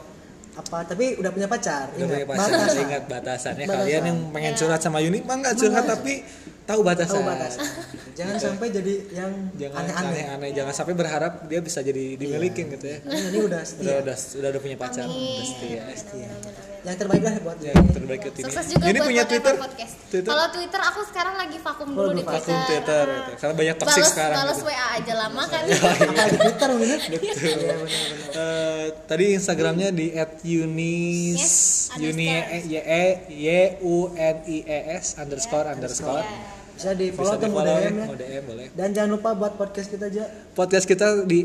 Speaker 2: apa tapi udah punya pacar
Speaker 1: Udah punya
Speaker 2: ingat,
Speaker 1: pacar,
Speaker 2: batas.
Speaker 1: ingat batasannya.
Speaker 2: Batasan.
Speaker 1: Kalian yang pengen
Speaker 3: Iya.
Speaker 1: curhat sama Yuni, mah nggak curhat tapi tahu batasan.
Speaker 2: tahu batas Gitu. jangan sampai jadi yang
Speaker 1: Jangan
Speaker 2: aneh-aneh Iya.
Speaker 1: aneh-aneh, jangan sampai berharap dia bisa jadi dimilikin gitu ya.
Speaker 2: Karena ini udah
Speaker 1: Udah
Speaker 2: setia
Speaker 1: udah udah, udah punya pacar,
Speaker 3: Amin.
Speaker 1: pasti
Speaker 2: Iya.
Speaker 1: ya.
Speaker 3: Amin, amin, amin, amin.
Speaker 2: yang terbaik lah buat
Speaker 1: Yang
Speaker 2: Yuni.
Speaker 1: terbaik ke Tini.
Speaker 3: Sukses juga
Speaker 1: Yuni
Speaker 3: buat
Speaker 1: punya
Speaker 3: Whatever
Speaker 1: Twitter?
Speaker 3: Podcast.
Speaker 1: Twitter?
Speaker 3: Kalau Twitter aku sekarang lagi vakum dulu
Speaker 2: Waduh,
Speaker 3: di Twitter.
Speaker 1: Vakum Twitter,
Speaker 3: Ah.
Speaker 1: gitu. karena banyak toksik
Speaker 3: Bales-
Speaker 1: sekarang.
Speaker 3: Bales
Speaker 1: gitu.
Speaker 3: WA aja lama kan.
Speaker 2: Apa di Twitter mungkin ya? Iya, benar-benar.
Speaker 1: Eh, tadi Instagramnya di @yunis
Speaker 3: Yes,
Speaker 1: Yuni
Speaker 3: underscore.
Speaker 1: Y E Y U N I E S underscore underscore.
Speaker 2: bisa di
Speaker 1: Bisa
Speaker 2: follow
Speaker 1: di
Speaker 2: atau mau
Speaker 1: follow ya,
Speaker 2: DM ya
Speaker 1: mau DM boleh.
Speaker 2: dan jangan lupa buat podcast kita aja
Speaker 1: Podcast kita di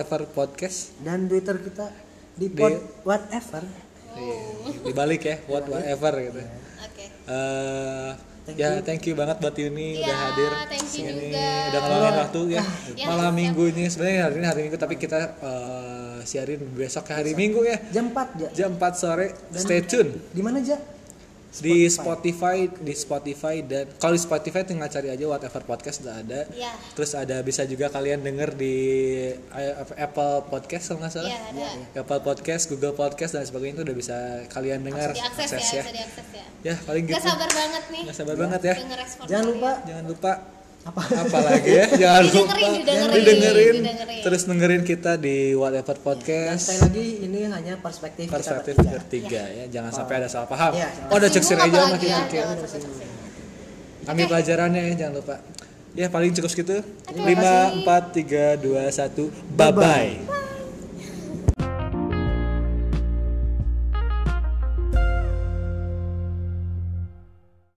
Speaker 1: @whateverpodcast.
Speaker 2: dan Twitter kita di
Speaker 1: Di-
Speaker 2: pod whatever
Speaker 1: Iya,
Speaker 3: Oh.
Speaker 1: dibalik ya what whatever gitu
Speaker 3: Oke.
Speaker 1: Eh,
Speaker 2: Iya. Thank
Speaker 1: ya thank you banget buat Yuni
Speaker 3: Iya,
Speaker 1: udah hadir
Speaker 3: thank you
Speaker 1: sini
Speaker 3: juga.
Speaker 1: udah ngeluangin
Speaker 2: Iya.
Speaker 1: waktu ya
Speaker 3: Ya,
Speaker 1: malam
Speaker 3: siap.
Speaker 1: minggu ini sebenarnya hari ini hari minggu tapi kita eh, siarin besok ke hari minggu ya
Speaker 2: jam 4 ja
Speaker 1: jam 4 sore stay tune
Speaker 2: di mana ja
Speaker 1: di Spotify di Spotify dan kalau di Spotify tinggal cari aja whatever podcast udah ada
Speaker 3: Iya.
Speaker 1: terus ada bisa juga kalian denger di eh, Apple Podcast kalau nggak salah
Speaker 3: Iya, ada.
Speaker 1: Apple Podcast Google Podcast dan sebagainya itu udah bisa kalian dengar
Speaker 3: Diakses ya, bisa diakses ya.
Speaker 1: ya paling gitu
Speaker 3: Gak sabar banget nih.
Speaker 1: nggak sabar banget ya
Speaker 3: Denger respon
Speaker 2: jangan lupa
Speaker 1: jangan lupa
Speaker 2: apa
Speaker 1: apa lagi ya jangan lupa
Speaker 3: Didengerin, didengerin,
Speaker 1: didengerin.
Speaker 3: didengerin.
Speaker 1: terus dengerin kita di whatever
Speaker 2: Dan sekali
Speaker 1: podcast
Speaker 2: lagi ini hanya perspektif,
Speaker 1: perspektif
Speaker 2: kita bertiga.
Speaker 1: ketiga ya jangan sampai ada salah paham
Speaker 2: Iya.
Speaker 1: oh udah ceksin
Speaker 3: Tersinggung
Speaker 1: aja sama
Speaker 3: apalagi
Speaker 1: kita
Speaker 3: ya,
Speaker 1: oke
Speaker 3: jangan sampai tersinggung.
Speaker 1: ambil pelajarannya ya jangan lupa ya paling cukup segitu
Speaker 3: Oke,
Speaker 1: lima
Speaker 3: makasih.
Speaker 1: empat tiga dua satu bye bye
Speaker 2: Bye-bye.